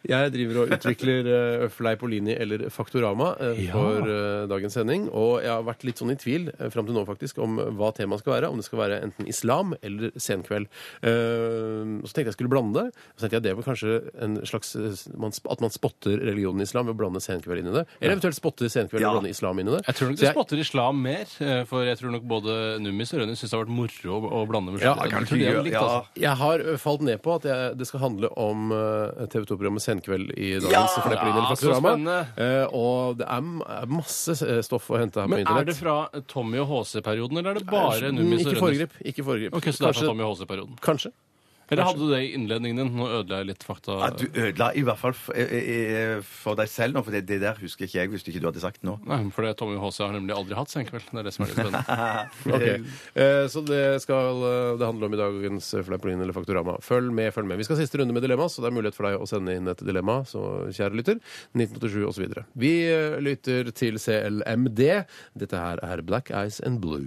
Jeg driver og utvikler uh, Fleipolini eller Faktorama eh, Ja. for eh, dagens sending. Og jeg har vært litt sånn i tvil uh, fram til nå faktisk om hva temaet skal være. Om det skal være enten islam eller senkveld. Eh, så tenkte jeg skulle blande det. Så tenkte jeg det var kanskje en slags eh, man, sp- At man spotter religionen islam ved å blande senkveld inn i det. Eller eventuelt spotter senkveld Ja. og blande islam inn i det. Jeg tror nok Så de spotter islam mer, eh, for jeg tror nok både Nummis og Rønnis syns det har vært moro å, å blande med Ja, Jeg Kan tror ikke de hadde gjøre likt, øh, ja. altså. Jeg har ø, falt ned på at jeg, det skal handle om øh, TV 2-programmet en kveld i dagens ja, Flepperlinjen Ja, så Faktorama. spennende. Eh, og det er m- er masse eh, stoff å hente her på Men er det internett. fra Tommy og HC-perioden, eller er det bare Mm, Nummis og Ikke Rønnis? foregrip. Ikke foregrip. Ok, så det er fra Kanskje- Tommy og HC-perioden. Kanskje. Eller hadde du det i innledningen din? Nå ødela jeg litt fakta. Ja, du ødela i hvert fall for, eh, eh, for deg selv nå, for det, det der husker ikke jeg hvis ikke du hadde sagt nå. Nei, for det Tommy og HC har nemlig aldri hatt senkveld. Det er det som er litt spennende. Ok. Eh, Så det skal eh, det handle om i dagens eh, Fleipolin eller Faktorama. Følg med, følg med. Vi skal siste runde med dilemma, så det er mulighet for deg å sende inn et dilemma, så kjære lytter. 1987 osv. Vi eh, lytter til CLMD. Dette her er Black Eyes and Blue.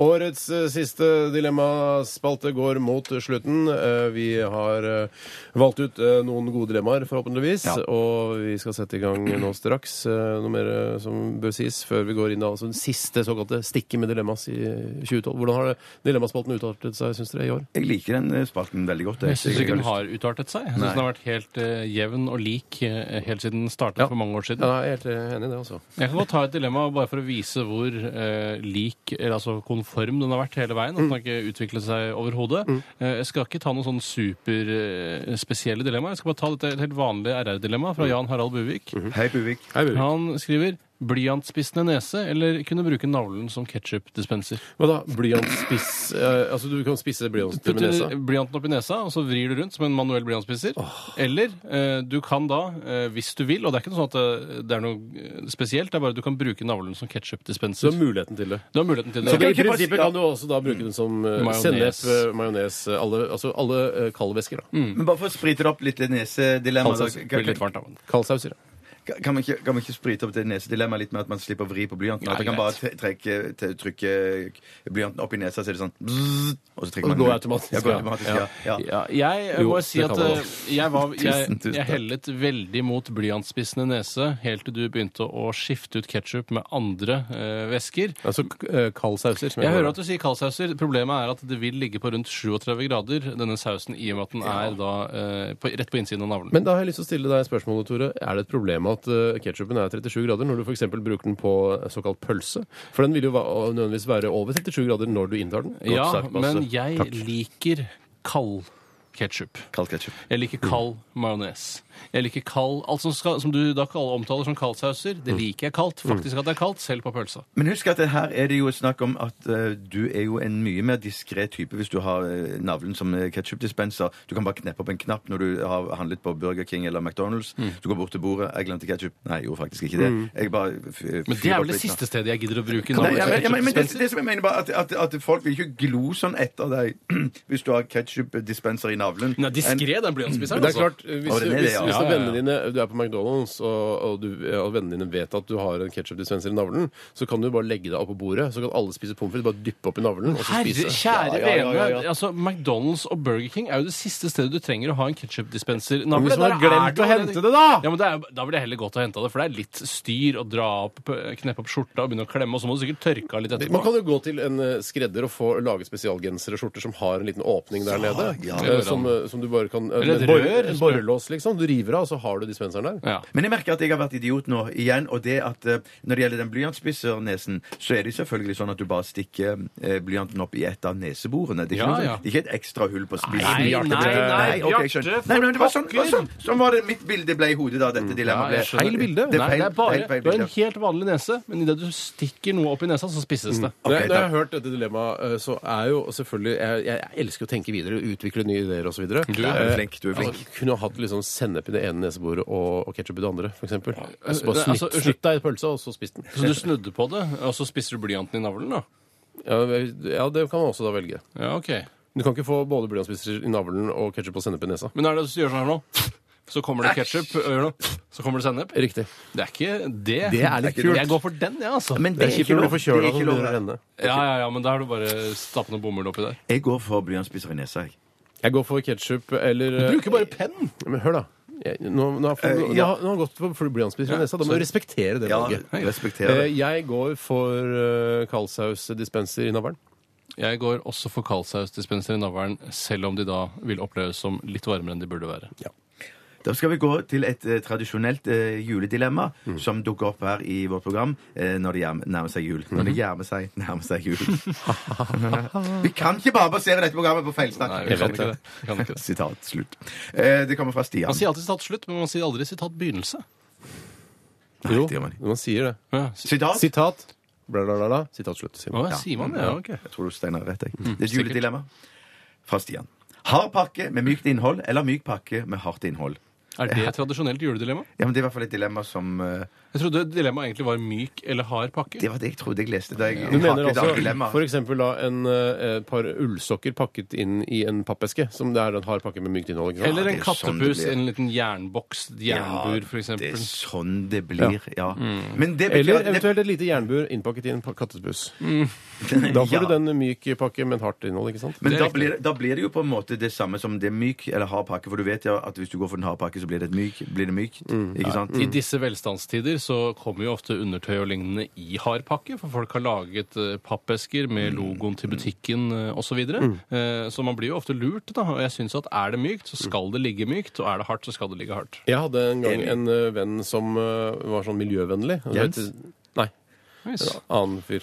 Årets eh, siste dilemmaspalte går mot slutten. Eh, Vi har eh, valgt ut eh, noen gode dilemmaer, forhåpentligvis. Ja. Og vi skal sette i gang nå straks. Eh, Noe mer eh, som bør sies før vi går inn i altså, den siste såkalte stikket med dilemmas i eh, 2012. Hvordan har det- dilemmaspalten utartet seg, syns dere, i år? Jeg liker den eh, spalten veldig godt. Jeg syns ikke den har lyst- har utartet seg. Jeg synes Nei. den har vært helt eh, jevn og lik eh, helt siden den startet Ja. for mange år Ja, siden. jeg er helt eh, enig i det, altså. Jeg kan godt ta et dilemma bare for å vise hvor eh, lik, eller altså konform, den har vært hele veien. At den har ikke utviklet seg overhodet. Eh, jeg skal ikke ta noen sånn superspesielle dilemma. Jeg skal bare ta dette helt vanlige RR-dilemma fra Jan Harald Buvik. Mhm. Hei, Buvik. Han skriver Blyantspissende nese eller kunne bruke navlen som ketchupdispenser? Hva da? Blyantspiss eh, Altså, du kan spisse blyanten med nesa? Putter blyanten opp i nesa, og så vrir du rundt som en manuell blyantspisser. Eller eh, du kan da, eh, hvis du vil, og det er ikke noe sånn at det, det er noe eh, spesielt, det er bare at du kan bruke navlen som Så du ketchupdispenser. har muligheten til det. Du har muligheten til Så det. i prinsippet kan du også da bruke den som eh, Majones. sennep, eh, majones, eh, alle, altså alle eh, kaldvæsker. da. Men bare for å sprite opp litt det nesedilemmaet Altså, da, Det blir litt kan, varmt av den. Kaldsauser. ja. kan, man ikke, kan man ikke sprite opp det nesedilemmaet litt med at man slipper å vri på blyanten? Ja, at man kan bare greit. tre- trekke, te- trykke blyanten opp i nesa, så er det sånn bzzz, Og så Og trekker man det går den ut. automatisk, Ja, går ja. automatisk ja. Ja. Ja, jeg eh, Jo, må si det at kan man eh, jeg, var, jeg, Tusen, jeg tusen takk. hellet veldig mot blyantspissende nese helt til du begynte å skifte ut ketsjup med andre eh, væsker. Altså k- eh, kaldsauser. som Jeg hører kaller at du sier kaldsauser. Problemet er at det vil ligge på rundt 37 grader, denne sausen, i og med at den er da eh, på, rett på innsiden av det. navlen. Men da har jeg lyst til å stille deg spørsmålet, Tore. Er det et problem at uh, ketsjupen er 37 grader når du f.eks. bruker den på såkalt pølse? For den vil jo va- å- nødvendigvis være over 37 grader når du inntar den. ja, sagt, Basse. men jeg liker kald ketsjup. Kald ketsjup. Jeg liker kald majones. Jeg liker kald Alt som, skal, som du da kall- omtaler som kaldsauser, det liker jeg kaldt. Faktisk at det er kaldt, selv på pølsa. Men husk at det her er det jo snakk om at eh, du er jo en mye mer diskré type hvis du har eh, navlen som ketsjupdispenser. Du kan bare kneppe opp en knapp når du har handlet på Burger King eller McDonald's. Du går bort til bordet. Jeg glemte ketsjup. Nei, jeg gjorde faktisk ikke det. Jeg bare f- Men det er fyrer opp vel det litt nå. siste stedet jeg gidder å bruke Nei, ja, men, ja, men, men det, ketchup. det som jeg mener bare at, at, at folk vil ikke glo sånn etter deg <clears throat> hvis du har ketsjupdispenser i navlen. Nei, diskré, den blyantspiseren, Men det er altså. klart, eh, hvis, Å, den er det, hvis, ja. hvis Ja, ja, ja. vennene dine, du er på McDonald's og, og, du, eh, og vennene dine vet at du har en ketsjupdispenser i navlen, så kan du bare legge deg oppå bordet, så kan alle spise pommes frites. Bare dyppe opp i navlen og så Herre, spise. Ja, kjære ja, ja, ja, ja. vene. Altså, McDonald's og Burger King er jo det siste stedet du trenger å ha en ketsjupdispenser. Men hvis man har glemt å hente det, da! Ja, men det er, jo- Da ville jeg heller gått og henta det, for det er litt styr å dra opp, kneppe opp skjorta og begynne å klemme, og så må du sikkert tørke av litt etterpå. Man kan jo gå til en eh, skredder og få laget spesialgensere og skjorter som har en liten åpning der nede. ja. eh, som, eh, som du bare kan eh, Eller et med bor- rør, en spør- Borrelås, liksom. Du river av, og så har du dispenseren der. Ja. Men jeg merker at jeg har vært idiot nå igjen. Og det at eh, når det gjelder den blyantspissernesen, så er det selvfølgelig sånn at du bare stikker eh, blyanten opp i et av neseborene. Det er ikke, Ja, noe sånn, ja. det er ikke et ekstra hull på spissen. Nei, nei, nei, ok, jeg Bjarte, skjønner. for nei, men det var sånn, det var pokker. Mm, sånn, sånn var det mitt bilde ble i hodet da dette dilemmaet ble. jeg skjønner. feil bilde? Det Nei, er feil, det er bare, feil, feil du har en bilde. helt vanlig nese, men idet du stikker noe opp i nesa, så spisses det. Når jeg- når jeg takk. har hørt dette dilemmaet, eh, så er jo selvfølgelig Jeg, jeg elsker å tenke videre, utvikle nye ideer osv. Du er flink, du er flink. Eh, kunne hatt liksom sennep i det ene neseboret og, og ketsjup i det andre, f.eks. Altså, det- bare snitt, altså, snitt deg i pølsa, og så spis den. Så du snudde på det, og så spisser du blyanten i navlen, da? Ja, ja, det kan man også da velge. Ja, ok. Du kan ikke få både blyantspisser i navlen og ketsjup og sennep i nesa. Men er det hvis du gjør sånn her nå? Så kommer det ketsjup, så kommer det sennep. Riktig. Det er ikke det. Det er litt kult. Jeg går for den, jeg, ja, altså. Men Det er kjipt når du blir Det er forkjøla ikke som begynner lov. å renne. Ja, ja, ja, men da har du bare stappet noe bomull oppi der. Jeg går for blyantspisser i nesa, jeg. Jeg går for ketsjup eller Du bruker bare penn! Men hør, da. Jeg, nå, nå, har folk- Eh, nå, ja. har- nå har han gått for for blyantspisser i Ja, nesa. Da må du så- respektere det Ja, valget. respekterer Eh, det. Jeg går for eh, kaldsausdispenser i navlen. Jeg går også for kaldsausdispenser i navlen, selv om de da vil oppleves som litt varmere enn de burde være. Da skal vi gå til et eh, tradisjonelt eh, juledilemma som dukker opp her i vårt program eh, når det gjerm- nærmer seg jul. Når det gjermer seg, <laughs> nærmer seg jul. vi kan ikke bare basere dette programmet på feilsnakk. Nei, Vi vi kan kan ikke det. Vi kan ikke det. Sitat slutt. Eh, det kommer fra Stian. Man sier alltid sitat slutt, men man sier aldri sitat begynnelse. Nei, Jo, det gjør man ikke. man sier det. Ja, si- Sitat? Sitat. Bla, bla, bla, bla. Sitat slutt. Sier man. Å, sier man det? Ja, ok. Jeg tror du Steinar vet det. Det er et juledilemma fra Stian. Hard pakke med mykt innhold eller myk pakke med hardt innhold? Er det et tradisjonelt juledilemma? Ja, men Det er i hvert fall et dilemma som eh, Jeg trodde dilemmaet egentlig var myk eller hard pakke. Det var det jeg trodde jeg leste. Da jeg, Du jeg mener hatet alle altså dilemmaer. f.eks. da en, eh, et par ullsokker pakket inn i en pappeske, som det er en hard pakke med mykt innhold? ikke sant? Eller det en er sånn det kattepus, blir. en liten jernboks, jernbur, for Ja, Det eksempel. Mm. er sånn det blir, ja. Men det betyr Eller at det- eventuelt et lite jernbur innpakket i en pa- <laughs> kattepus. Da får Ja. du den myk pakke med en hardt innhold, ikke sant? Men Det er da riktig. blir, det- da blir det jo på en måte det samme som det er myk eller hard pakke. For du vet jo at hvis du går for den harde pakke, så blir det et myk. Blir det mykt? Mm. Ikke sant? I disse velstandstider så kommer jo ofte undertøy og lignende i hard pakke, for folk har laget eh, pappesker Mm, med logoen til butikken eh, osv. Eh, Så man blir jo ofte lurt, da. Og jeg syns at er det mykt, så Mm. skal det ligge mykt, og er det hardt, så skal det ligge hardt. Jeg hadde en gang en eh, venn som eh, var sånn miljøvennlig. Han Jens? het- Nei, en annen fyr.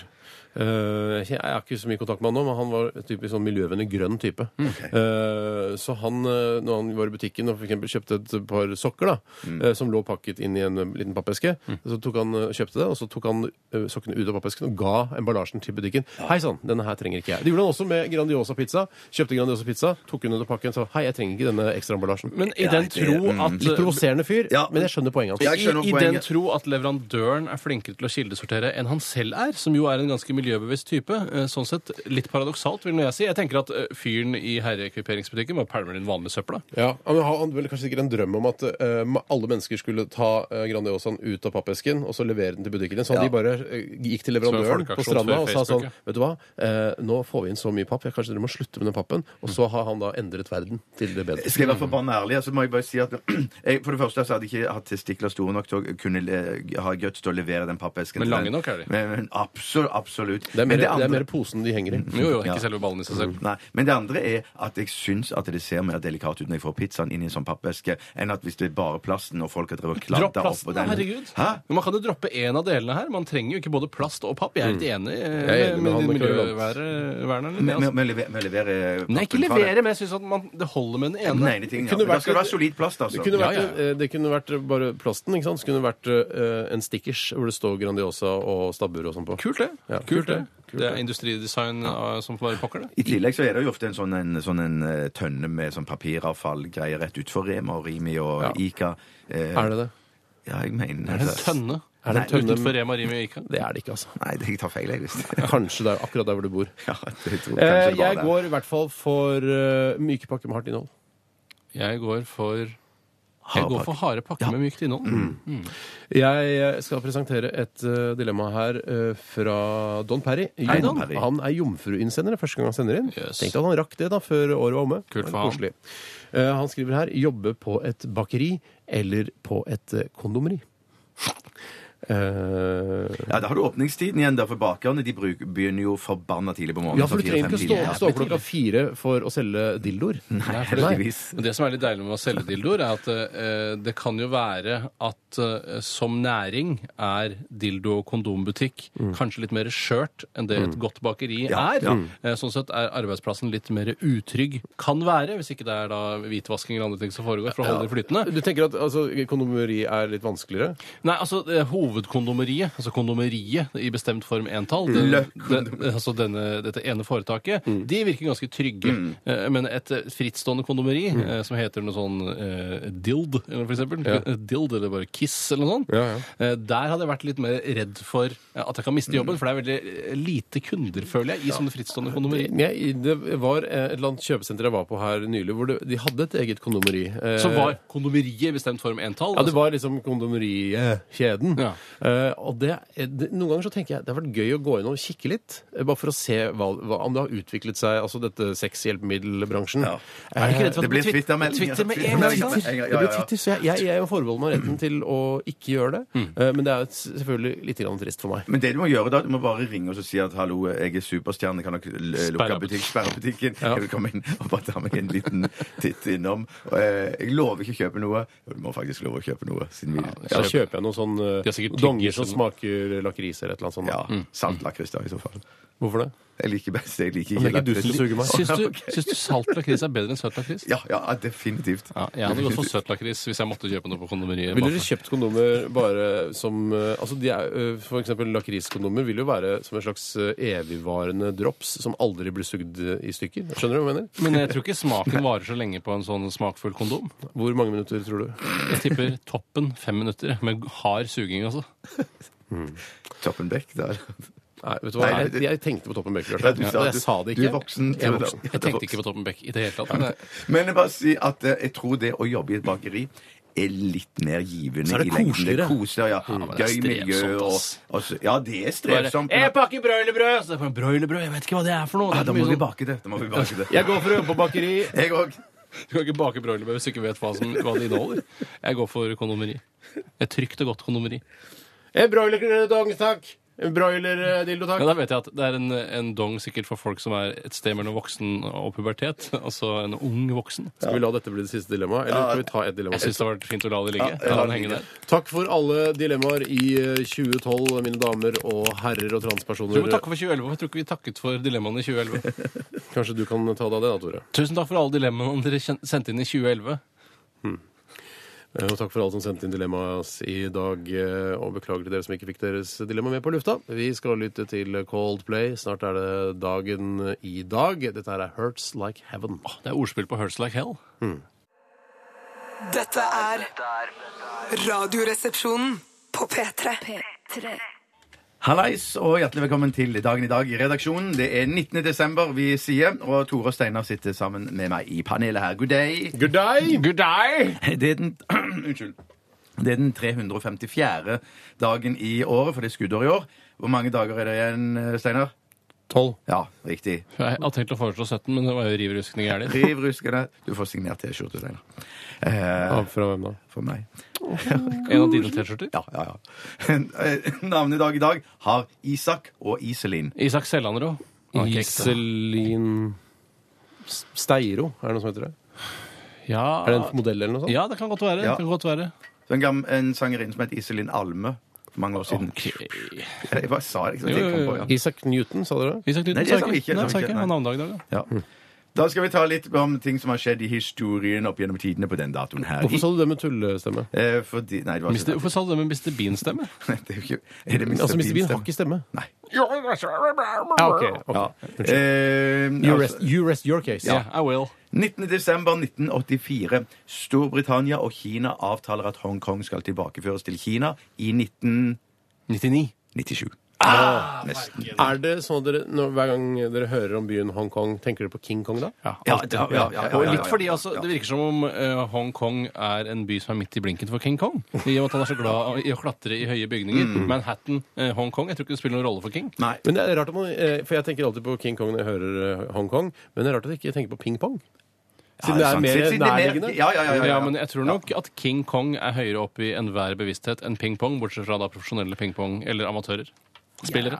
Eh, jeg har ikke så mye kontakt med han nå, men han var typisk sånn miljøvennlig grønn type. Eh, så han, eh, når han var i butikken og for eksempel kjøpte et par sokker da, eh, som lå pakket inn i en eh, liten pappeske, så tok han, eh, kjøpte det, og så tok han eh, sokkene ut av pappesken og ga emballasjen til butikken. Hei sann, denne her trenger ikke jeg. Det gjorde han også med Grandiosa pizza. Kjøpte Grandiosa pizza, tok hun ut av pakken og sa hei, jeg trenger ikke denne ekstraemballasjen. Men i Ja, den det- tro mm. at Litt provoserende fyr, Ja. men jeg skjønner poenget hans. Jeg skjønner I, I den poenget. tro at leverandøren er flinkere til å kildesortere enn han selv er, som jo er en ganske miljøbevisst type. Eh, Sånn sett litt paradoksalt, vil nå jeg si. Jeg tenker at eh, fyren i herreekviperingsbutikken bare pælmer inn vanlig søppel. da. Ja, men Han hadde vel kanskje sikkert en drøm om at eh, ma- alle mennesker skulle ta eh, Grandiosaen ut av pappesken og så levere den til butikken. Så de bare eh, gikk til Som en leverandøren på folkeaksjon stranda før og sa Facebook, sånn ja. Vet du hva, Eh, nå får vi inn så mye papp, ja, kanskje dere må slutte med den pappen. Og så har han da endret verden til det bedre. Skal jeg være forbanna ærlig, så må jeg bare si at <clears throat> jeg, For det første så hadde jeg ikke hatt testikler store nok til å kunne le- ha guts til å levere den pappesken. Men til lange den. nok er de. Men, men absolutt. absolutt. Det er mer, Men det andre- er mer posen de henger i. Jo, jo, ikke Ja. Mm. selve ballen i seg selv. Nei, men det andre er at jeg syns at det ser mer delikat ut når jeg får pizzaen inn i en sånn pappeske, enn at hvis det er bare plasten og folk har drevet og Dropp kladda oppå plasten, da, den. herregud. Hæ? Men Man kan jo droppe én av delene her. Man trenger jo ikke både plast og papp. Jeg er litt Mm. enig, eh, Jeg er enig med med, han med, med miljøverneren. Med, med, Altså. med, å leve- med å levere Nei, ikke pappen fra levere, men jeg syns at man, det holder med den deg. ene. Nei, ingenting. Det Ja. kunne Men Da vært- skal det være solid plast, Det altså. kunne, vært, Ja, ja, eh, det kunne vært bare plasten. ikke sant? Så kunne det vært eh, en stickers hvor det står Grandiosa og stabbur og sånn på. Kult, det. Ja, Kult, det. Kult, det er industridesign eh, som får være pokker, det. I tillegg så er det jo ofte en sånn, en, sånn en eh, tønne med sånn papiravfallgreier rett utfor Rema og Rimi og Ja. Ica. Eh, Er det det? Ja, jeg mener Er det en tønne? Er det en tønne? Utenfor Rema Rimi og Ica? Det er det ikke, altså. Nei, det- jeg tar feil, jeg, hvis det <laughs> Kanskje det er akkurat der hvor du bor. Ja, jeg tror kanskje Eh, det var jeg det. går i hvert fall for uh, myke pakker med hardt innhold. Jeg går for jeg Hard går pakke. for harde pakker med mykt innhold. Mm. Mm. Jeg eh, skal presentere et eh, dilemma her eh, fra Don Perry. Hei, Don Jon- Perry. Han er jomfruinnsender. det er Første gang han sender inn. Yes. Tenkte at han rakk det da, før året var omme. Kult Det for var han. koselig. Eh, han skriver her 'jobbe på et bakeri eller på et eh, kondomeri'. Eh, Ja, Da har du åpningstiden igjen, da, for bakerne de bruk, begynner jo forbanna tidlig på morgenen. ja, for du sånn trenger ikke å stå, fire-fem stå timer. opp klokka fire for å selge dildoer. Nei, heldigvis. Men Det som er litt deilig med å selge dildoer, er at eh, det kan jo være at eh, som næring er dildo- og kondombutikk kanskje litt mer skjørt enn det et godt bakeri Mm. Ja, er. ja. Eh, sånn sett er arbeidsplassen litt mer utrygg kan være, hvis ikke det er da hvitvasking eller andre ting som foregår for å holde det flytende. Du tenker at altså, kondomeri er litt vanskeligere? Nei, altså eh, hovedkondomeriet, altså kondomeriet i bestemt form entall, den, den, altså denne, dette ene foretaket, de virker ganske trygge. Eh, Men et eh, frittstående kondomeri eh, som heter noe sånn eh, Dild, eller for eksempel, Eh, Dild eller bare Kiss eller noe sånt, Ja, ja. Eh, der hadde jeg vært litt mer redd for eh, at jeg kan miste jobben, for det er veldig eh, lite kunder, føler jeg, i sånne frittstående kondomerier. Men Jeg, det var eh, et eller annet kjøpesenter jeg var på her nylig, hvor det, de hadde et eget kondomeri. Eh, Så var kondomeriet i bestemt form Altså, entall. Ja, det var liksom kondomerikjeden. Ja. Eh, og det, det, noen ganger så tenker jeg det har vært gøy å gå inn og kikke litt, eh, bare for å se hva, hva, om det har utviklet seg, altså dette sexhjelpemiddelbransjen. Ja. Jeg er ikke redd for at Det blir twit- Twitter-meldinger. Twitter med en gang. Twitter-meldinger med en gang, ja, Det blir ja, ja. Twitter, så jeg, jeg, jeg forbeholder meg retten til å ikke gjøre det, Eh, men det er jo s- selvfølgelig litt grann trist for meg. Men det du må gjøre da, du må bare ringe og så si at hallo, jeg er superstjerne, kan dere l- lukke Sperre butikk. butikk, sperre butikken? Kan du komme inn og bare ta meg en liten titt innom? Og, eh, Jeg lover ikke å kjøpe noe. Jo, Du må faktisk love å kjøpe noe. Siden vi, Da ja, kjøper jeg noen sånn De har sikkert eh, tygger donger som som- smaker lakris eller et eller annet sånt. da. ja, salt lakris da, i så fall. Hvorfor det? Jeg liker best, jeg liker Men det er ikke du lakris. som suger meg. Syns du, syns du salt lakris er bedre enn søt lakris? <laughs> Ja, ja, definitivt. Ja, jeg hadde gått for søt lakris hvis jeg måtte kjøpe noe på kondomeriet. Ville dere kjøpt kondomer bare som eh, altså de er, eh, For eksempel lakriskondomer vil jo være som en slags eh, evigvarende drops som aldri blir sugd eh, i stykker. Skjønner du hva jeg mener? Men jeg tror ikke smaken varer så lenge på en sånn smakfull kondom. Hvor mange minutter tror du? Jeg tipper toppen fem minutter, med hard suging, altså. Toppen Beck der. Nei, vet du hva? Nei, Jeg, det- jeg tenkte på toppen bøker. Ja, Bjarte. du sa- Og jeg du- sa det du ikke. er voksen. Jeg er voksen. Jeg tenkte ikke på Toppen Beck i det hele tatt. Men det- Men jeg bare si at eh, jeg tror det å jobbe i et bakeri er litt mer givende. Så er det i lengden. Det koseligere. er koseligere, ja. men Mm, det er Gøy miljø strevsomt, og, ass. og så- Ja, det er bare, strevsomt. men- Jeg pakker broilerbrød! Så det er for en broilerbrød, jeg vet ikke hva det er for noe. Det Ja, er da så må mye vi sånn- bake det. Da må vi bake <laughs> det. Jeg går for å jobbe på bakeri. Jeg òg. Du kan ikke bake broilerbrød hvis du ikke vet hva, som, hva det inneholder. Jeg går for kondomeri. Et trygt og godt kondomeri. En broilerdong, takk. En broilerdildo, Men takk. da vet jeg at det er en, en dong sikkert for folk som er et sted mellom voksen og pubertet. Altså en ung voksen. Skal vi la dette bli det siste dilemmaet, eller skal vi ta et dilemma? Jeg syns det har vært fint å la det ligge. jeg la lar den det henge ligge. der. Takk for alle dilemmaer i eh, 2012, mine damer og herrer og Jeg tror vi transpersoner. takker for 2011. Jeg tror ikke vi takket for dilemmaene i 2011. Kanskje du kan ta deg av det, da, Tore. Tusen takk for alle dilemmaene dere kjen- sendte inn i 2011. Eh, Og takk for alle som sendte inn dilemmaet oss i dag. eh, Og beklager til dere som ikke fikk deres dilemma med på lufta. Vi skal lytte til Coldplay. Snart er det dagen i dag. Dette her er Hurts Like Heaven. Det er ordspill på Hurts Like Hell. Dette er Radioresepsjonen på P3. Hallais og hjertelig velkommen til dagen i dag i redaksjonen. Det er 19. desember vi sier, og Tore og Steinar sitter sammen med meg i panelet her. Good day! Good day! Good day! Det er den <clears throat> Unnskyld. Det er den 354. dagen i året, for det er skuddår i år. Hvor mange dager er det igjen, Steinar? Tolv. Ja, riktig. Jeg hadde tenkt å foreslå 17, men det var jo riv ruskende gærent. Riv ruskene. Du får signert T-skjorte, Steinar. Eh, Ja, fra hvem da? for meg. En av dine T-skjorter? Ja, ja, ja. <laughs> Navnedag i dag har Isak og Iselin. Isak Sellander òg. Iselin S- Steiro, er det noe som heter det? Ja. Er det en modell eller noe sånt? Ah. ja, det kan godt være. Ja. Det kan godt være. Så en, gam- en sangerinne som het Iselin Alme for mange år siden. <laughs> Jeg bare sa det. ikke sant? Jeg kom på, ja. Isak Newton, sa dere? Isak Nei, Newton det sa sa vi ikke, ikke. Nei, det sa sa vi ikke. ikke, nei. Han har navnedag i dag, da. Ja. Mm. Da skal vi ta litt om ting som har skjedd i historien opp gjennom tidene på den datoen her. Hvorfor sa du det med tullestemme? Eh, fordi, nei, det var Mister- Hvorfor sa du det med Mr. Bean-stemme? Det er jo ikke <laughs> Er det Mr. Altså, Mr. Bean har Bean-stemme? ikke stemme. Nei. Ja, ok. ok. Ja. Eh, You, altså, rest, you rest your case. Ja, I will. 19. desember 1984. Storbritannia og Kina avtaler at Hongkong skal tilbakeføres til Kina i 1997. 99. Ah, Nesten. Er det sånn at dere, når, Hver gang dere hører om byen Hongkong, tenker dere på King Kong da? Ja. Ja, ja, ja, ja, ja, Og ja, ja, litt ja. fordi altså, Det virker som om eh, Hongkong er en by som er midt i blinken for King Kong. I og med at han er så glad i å klatre i høye bygninger. Manhattan, eh, Hongkong Jeg tror ikke det spiller noen rolle for King. Mm. Nei. Men det er rart at man, eh, For jeg tenker alltid på King Kong når jeg hører eh, Hongkong, men det er rart at jeg ikke tenker på ping pong. Siden sant. det er Siden mer det er mer- nærliggende. Ja, ja, ja, ja, ja. men jeg tror nok at King Kong er høyere opp i enhver bevissthet enn ping pong, bortsett fra da profesjonelle pingpong- eller amatører. Spillere.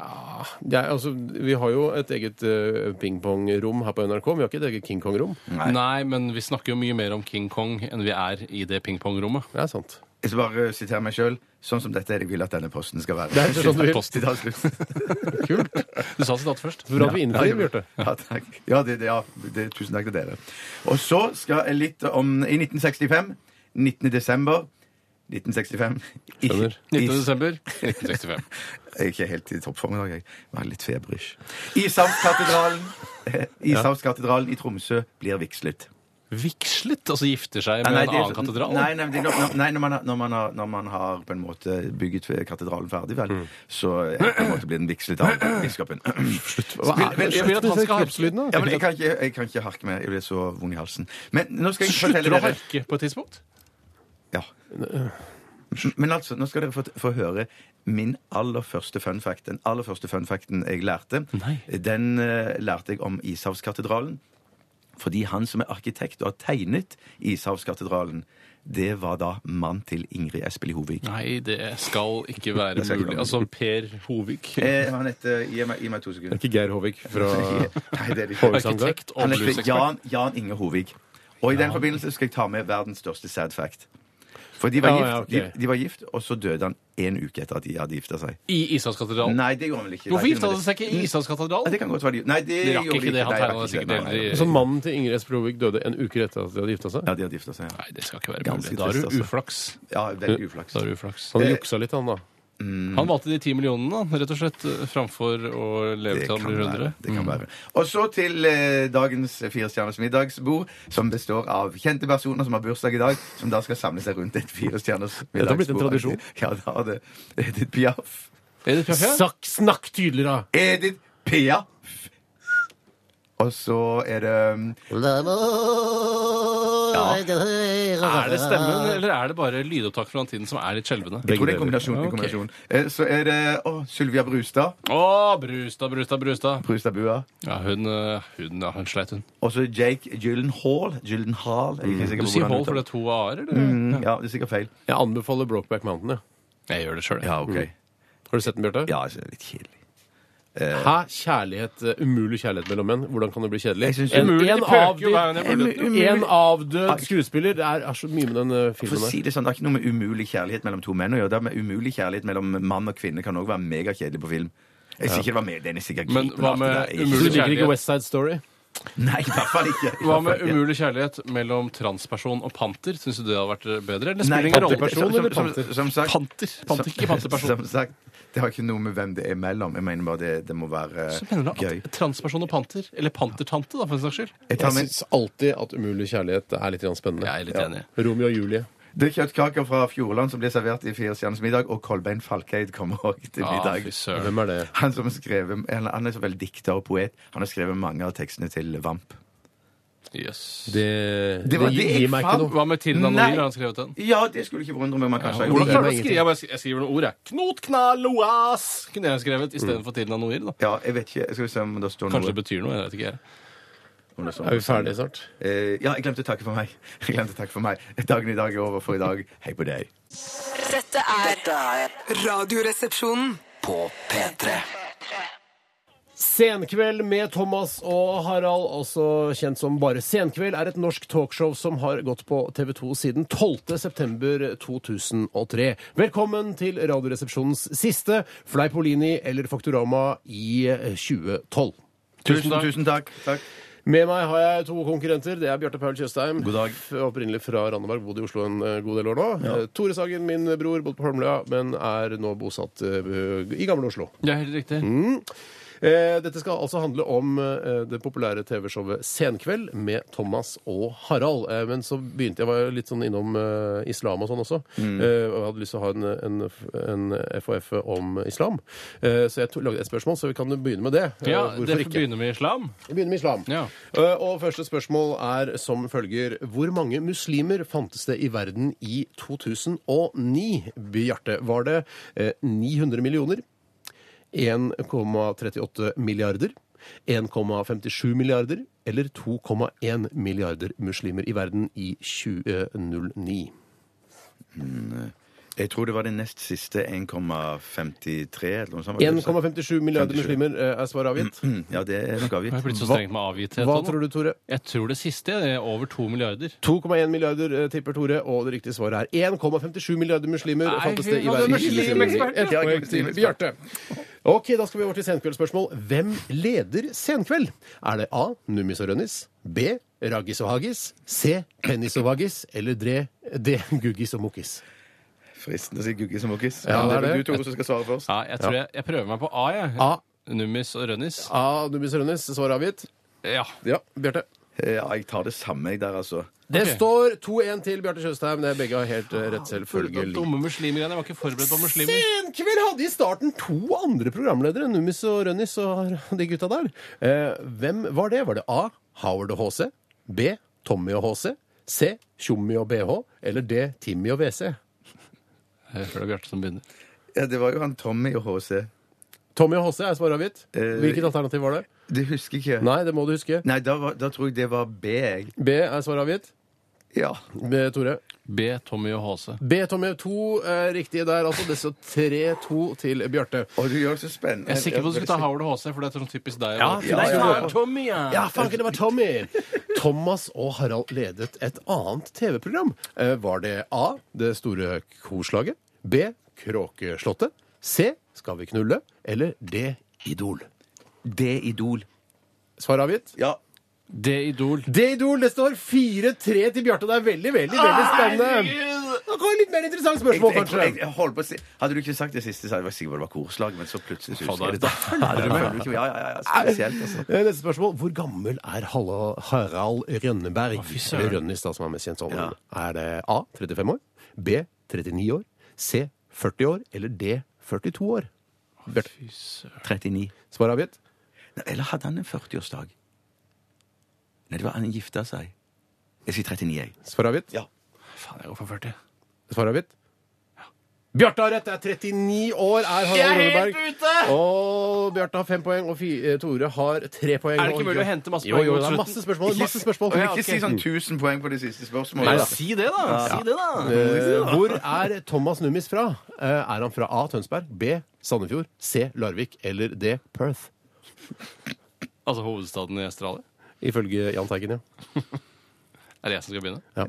Det er, altså, vi har jo et eget eh, pingpong-rom her på NRK, men vi har ikke et eget King Kong-rom. Nei. men vi snakker jo mye mer om King Kong enn vi er i det pingpongrommet. Det er sant. Jeg skal bare eh, sitere meg sjøl. Sånn som dette er det jeg vil at denne posten skal være. Det er sånn du vil. Post- Sitat slutt. Kult. Du sa sitatet først. Bra vi innfrir, Bjarte. Ja, takk. Ja, det, det, ja det, tusen takk til dere. Og så skal jeg litt om I 1965. 19. desember 1965. I- Skjønner. 19. desember 1965. Jeg er ikke helt i toppform i dag. Jeg var litt feberish. Ishavskatedralen Ishavskatedralen i Tromsø blir vigslet. Vigslet? Altså gifter seg Nei, med nei, en det er annen sånn- katedral? Nei, nei, det er nok- nei når, man har, når, man har, når man har på en måte bygget ved katedralen ferdig, vel, så er det på en måte blir den vigslet av biskopen. Hva er- men- jeg vil at han Disse skal ha- knipslydene. Ja, men jeg kan, ikke, jeg kan ikke harke mer. Jeg blir så vond i halsen. Men nå skal jeg fortelle Slutter å dere harke på et tidspunkt? ja. Men altså, nå skal dere få, få høre min aller første fun fact. Den aller første fun facten jeg lærte, den eh, lærte jeg om Ishavskatedralen. Fordi han som er arkitekt og har tegnet Ishavskatedralen, det var da mann til Ingrid Espelid Hovig. Nei, det skal ikke være Det skal ikke mulig. være Altså Per Hovig. Eh, han heter Gi meg, gi meg to sekunder. Ikke Geir Håvik fra Nei, det er det ikke. Hovedsangeren. Arkitekt og Han heter bluesekspert. Jan, Jan Inge Hovig. Og i den forbindelse skal jeg ta med verdens største sad fact. For de var, Ja, gift, ja, ok. de, de var gift, og så døde han en uke etter at de hadde gifta seg. I Ishavskatedralen. Nei, det gjorde han vel ikke. Hvorfor Det er gifta ikke han noe seg ikke i Ja, det Ishavskatedralen? kan godt være de Nei, det De rakk gjorde ikke det. Han Nei, tegnet rakk ikke sikkert det. Nei, heller i- nei, Så mannen sånn til Ingrid Esprovik dødde en uke etter at de hadde gifta seg? Ja, de hadde gifta seg, ja. Nei, det skal ikke være Ganske mulig. Da har trist, du altså. uflaks. ja. Veldig uflaks. Da har du uflaks. Han juksa litt, han da. Mm. Han valgte de ti millionene, da, rett og slett, eh, framfor å leve Det til han kan blir være. 100. Det kan være. Og så til eh, dagens firestjerners middagsbord, som består av kjente personer som har bursdag i dag, som da skal samle seg rundt et firestjerners middagsbord. har blitt en tradisjon. <laughs> Ja, det har det. Edith Piaf. Edith Piaf, ja. Sak, snakk tydeligere! Edith Piaf. Og så er det um, Er det stemmen, eller er det bare lydopptak fra den tiden som er litt skjelvende? Jeg tror det er en kombinasjon. En kombinasjon. Eh, Så er det å, Sylvia Brustad. Å, Brustad, Brustad, Brustad. Brustadbua. Ja, hun, eh, hun, ja, hun sleit, hun. Og så Jake Gyllenhaal. Gyllenhaal. Jeg er ikke sikker Du på sier hvordan Hall for uttaler- det er to a-er, eller? Mm, Ja, det er sikkert feil. Jeg anbefaler Brokeback Mountain. Ja. Jeg gjør det sjøl. Ja, ok. Har du sett den, Bjarte? Mm. Ja, altså, det er litt kjedelig. Hæ? Kjærlighet, eh, umulig kjærlighet mellom menn. Hvordan kan det bli kjedelig? Jeg synes en, umulig, en, det pøker jo hver gang jeg avdød, burde en avdød skuespiller. Det er, er så mye med den eh, For filmen å der. si Det sånn, det er ikke noe med umulig kjærlighet mellom to menn å gjøre. Det er med umulig kjærlighet mellom mann og kvinne kan også være megakjedelig på film. Jeg sier ikke det var med, den er sikkert Men gripen hva av med det der. Så Jeg- du umulig liker kjærlighet. ikke West Side Story? Nei, i hvert fall ikke. Hva med umulig kjærlighet mellom transperson og panter? Syns du det hadde vært eh, bedre? Eller Nei, spiller ingen rolle? panterperson rolleperson eller som- som- panter? Som sagt, Panter. Panter, ikke panterperson. Som sagt, det har ikke noe med hvem det er mellom. Jeg mener bare det, det må være Så mener du gøy. at transperson og panter, eller pantertante, da, for en saks skyld? Jeg tar Jeg med, syns alltid at umulig kjærlighet er litt grann spennende. Jeg er litt enig. Romeo og Julie. det er kjøttkaker fra Fjordland som blir servert i Firestjerners middag, og Kolbein Falkeid kommer òg til Ja, Ah, middag. fy søren. Hvem er det? Han som har skrevet, han han er så veldig dikter og poet. Han har skrevet mange av tekstene til Vamp. Jøss. Det, Det var gi- det jeg gir meg ikke fant. noe. Hva med Tilda Nei. Noir? Har han skrevet den? Ja, det skulle ikke forundre meg om han kanskje har Hvordan gjort det. klarer du å skrive? Jeg, bare, sk- jeg skriver noen ord, jeg. Knot, knall, loas! Kunne jeg skrevet Mm. istedenfor Tilda Noir, da. Ja, jeg vet ikke. Skal vi se om det står Kanskje det noe. betyr noe, jeg vet ikke. jeg. Om det står Er vi noe. ferdige snart? Eh, ja, jeg glemte å takke for meg. <laughs> Jeg glemte å takke for meg. Dagen i dag er over for i dag. Hei på deg. Dette er Dette er Radioresepsjonen. på P3. Senkveld med Thomas og Harald, også kjent som bare Senkveld, er et norsk talkshow som har gått på TV 2 siden 12.9.2003. Velkommen til Radioresepsjonens siste Fleipolini eller Faktorama i 2012. Tusen, tusen takk. takk. Med meg har jeg to konkurrenter. Det er Bjarte Paul Tjøstheim. God dag. f- Opprinnelig fra Randaberg, bodd i Oslo en eh, god del år nå. Eh, Tore Sagen, min bror, bodd på Holmlia, men er nå bosatt eh, i gamle Oslo. Det er helt riktig. Mm, Eh, Dette skal altså handle om eh, det populære TV-showet Senkveld med Thomas og Harald. Eh, Men så begynte jeg var jo litt sånn innom eh, islam og sånn også. Mm. Eh, Og jeg hadde lyst til å ha en, en, en FHF om islam. Eh, Så jeg to- lagde et spørsmål, så vi kan jo begynne med det. Eh, Ja, Hvorfor det ikke? begynner med islam. Vi begynner med islam. Ja. Eh, Og første spørsmål er som følger. Hvor mange muslimer fantes det i verden i 2009? Bjarte, var det eh, 900 millioner? 1,38 milliarder? 1,57 milliarder? Eller 2,1 milliarder muslimer i verden i eh, 2009? Jeg tror det var det nest siste 1,53 eller noe sånt. 1,57 milliarder 57. muslimer eh, er svaret avgitt. Mm, <clears throat> Ja, det er nok Jeg har avgitt. blitt så Hva- strengt med avgitthet. Hva og noe. tror du, Tore? Jeg tror det siste er over to milliarder. 2,1 milliarder eh, tipper Tore, og det riktige svaret er 1,57 milliarder muslimer Nei, fantes det i han er verden. muslimekspert. Ett poeng til Bjarte. Ok, da skal vi over til senkveldsspørsmål. Hvem leder Senkveld? Er det A. Nummis og Rønnis? B. Raggis og Haggis? C. Pennis og Vaggis? Eller D. D. Guggis og Mukkis? Fristende å si Guggis og Mokkis. Ja, Men det er vel du, Tore, som skal svare først. Ja, jeg tror jeg, jeg prøver meg på A, jeg. A. Nummis og Rønnis. A. Nummis og Rønnis. Svar avgitt. Ja. Ja, Bjarte. Eh, Ja, jeg tar det samme jeg der, altså. Det Ok. står 2-1 til Bjarte Tjøstheim. Det er begge har helt eh, rett, selvfølgelig. Dumme muslimgreiene. Jeg var ikke forberedt på muslimer. Senkveld hadde i starten to andre programledere, Nummis og Rønnis og de gutta der. Eh, hvem var det? Var det A. Howard og HC? B. Tommy og HC? C. Tjommi og BH? Eller D. Timmy og WC? Jeg føler det er Bjarte som begynner. Ja, det var jo han Tommy og HC. Tommy og HC er svaret avgitt. Eh, Hvilket alternativ var det? Det husker jeg ikke. Nei, det må du huske. Nei, da, var, da tror jeg det var B, jeg. B er svaret avgitt. Ja. B, Tore. B. Tommy og HC. B, Tommy. To er riktige der, altså. Det står 3-2 til Bjarte. Og du gjør det så spennende. Jeg er sikker på at du skulle ta Howard og HC, for det er sånn typisk deg. Ja, Nei, ja, ja, ja. faen, Tommy, ja. Ja, fanken, det var Tommy! Thomas og Harald ledet et annet TV-program. Eh, Var det A. Det store korslaget. B. Kråkeslottet. C. Skal vi knulle? Eller D. Idol. Det Idol. Svar avgitt? Ja. Det Idol. Det Idol, det står 4-3 til Bjarte. Det er veldig, veldig veldig spennende. Det var litt mer interessant Jeg, spørsmål, jeg, jeg, kanskje. jeg holdt på å si Hadde du ikke sagt det siste, så hadde jeg vært sikker på det var korslag, men så plutselig så husker Fader, jeg det. Da <laughs> følger du med. Ja, ja, ja, ja. Spesielt, altså. Eh, Neste spørsmål. Hvor gammel er Halla- Harald Rønneberg? Eller Rønnis, da, som er mest kjent som. Ja. Er det A. 35 år? B. 39 år? C. 40 år? Eller D. 42 år? Bjarte. 39. Svar avgitt? Nei, Eller hadde han en 40-årsdag? Nei, det var han gifta seg. Jeg sier 39, jeg. Svar avgitt? Ja. Faen, jeg går for 40. Svar avgitt? Bjarte har rett! Det er 39 år er Harald Rønneberg. ute! Og Bjarte har fem poeng, og fi, eh, Tore har tre poeng. Er det ikke Og mulig å Bjarte- hente masse Jo, poeng jo, mot det er slutten? masse spørsmål. Masse spørsmål. Og Ja, ikke ok. si sånn 1000 poeng på det siste spørsmålet. Nei da. Si det, da! Si det, da! Eh, Hvor er Thomas Nummis fra? Eh, Er han fra A. Tønsberg, B. Sandefjord, C. Larvik eller D. Perth? Altså hovedstaden i Australia. Ifølge Jahn Teigen, ja. Er det jeg som skal begynne? Ja.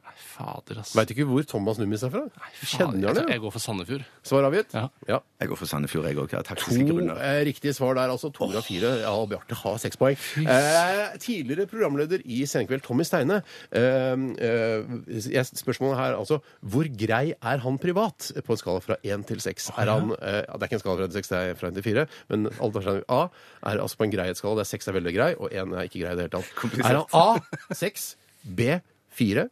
Nei, fader, ass. Veit ikke hvor Thomas Nummis er fra. Kjenner jeg, han det? altså, jeg går for Sandefjord. Svar avgitt? Ja. ja. Jeg går for Sandefjord, jeg òg. Taktiske To grunner. eh, riktige svar der, altså. To av fire. Ja, og Bjarte har seks poeng. Eh, tidligere programleder i Senkveld, Tommy Steine. Eh, eh, jeg- spørsmålet her altså Hvor grei er han privat? På en skala fra én til seks. Er han eh, ja, Det er ikke en skala fra én til seks, det er fra én til fire. Men alt er sånn A er altså på en greighetsskala der seks er veldig grei, og én er ikke grei i det hele tatt. Er han A seks, B fire,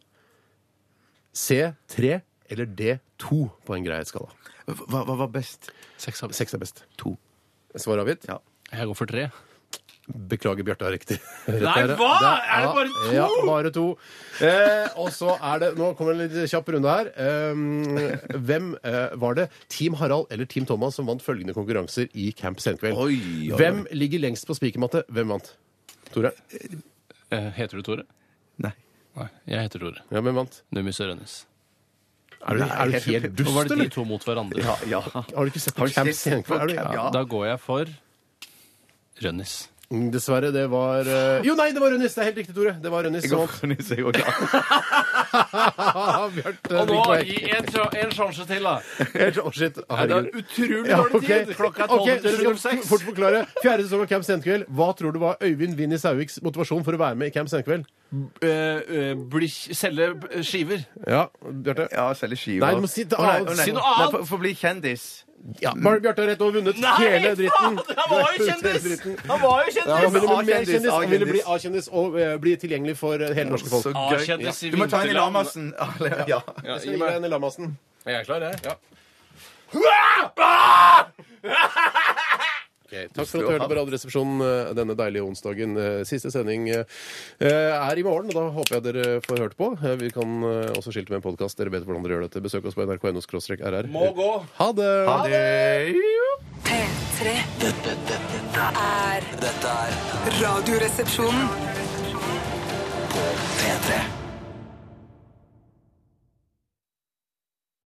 C tre eller D to på en greighetsskala? Hva, hva var best? Seks av Seks er best. To. Svar avgitt? Ja. Jeg går for tre. Beklager, Bjarte har riktig. Nei, hva? Er det bare to? Ja, bare to. Eh, og så er det Nå kommer en litt kjapp runde her. Eh, hvem eh, var det? Team Harald eller Team Thomas som vant følgende konkurranser i Camp Senkveld? Oi, oi, oi. Hvem ligger lengst på spikermatte? Hvem vant? Tore? Eh, Heter du Tore? Nei. Nei, jeg heter Tore. Ja, hvem vant? Nummi Sørennis. Er du, er du helt Nå dust, var det de eller? to mot hverandre. Ja, ja. Har du ikke sett Har på du Camp ikke sett på Senkveld? Er du, Camp- ja. Ja. Da går jeg for Rønnis. Mm, Dessverre, det var eh, Jo, nei, det var Rønnis! Det er helt riktig, Tore. Det var Rønnis Jeg som går <laughs> vant. for Nils, jeg òg. Ah, <laughs> Bjarte, Og nå fikk poeng. gi en, sja- en sjanse til, da! Å, oh, shit. Herregud. utrolig Ja, ok. Ok, dere skal fort forklare. Fjerde sesong av Camp Senkveld. Hva tror du var Øyvind Vinni Sauviks motivasjon for å være med i Camp Senkveld? eh, Selge eh, skiver. Ja, Bjarte? Ja, selge skiver. Nei, du må si- Å, nei, å, nei. Si noe Nei, annet. for- For å bli kjendis. Ja, Mar- Bjarte har rett og vunnet Nei, hele dritten. faen! Han var jo kjendis! Han var jo Ja, han kjendis! ville bli mer A-kjendis, kjendis, han ville bli A-kjendis A-kjendis. og eh, bli tilgjengelig for eh, hele norske folk. Så gøy. A-kjendis i Du må ta en i vinterland. Lamassen. Ja, <laughs> ja. Ja, Jeg gi skal gi meg- deg en Lamassen. Jeg er klar, jeg. Ok, Takk for at du hørte på Radioresepsjonen eh, denne deilige onsdagen. Eh, Siste sending eh, er i morgen, og da håper jeg dere får hørt på. Eh, Vi kan eh, også skilte med en podkast. Dere vet hvordan dere gjør dette. Besøk oss på nrk.no-rr. Må gå. Ha det! Ha det. P3 Dette, dette, er dette er Radioresepsjonen. P3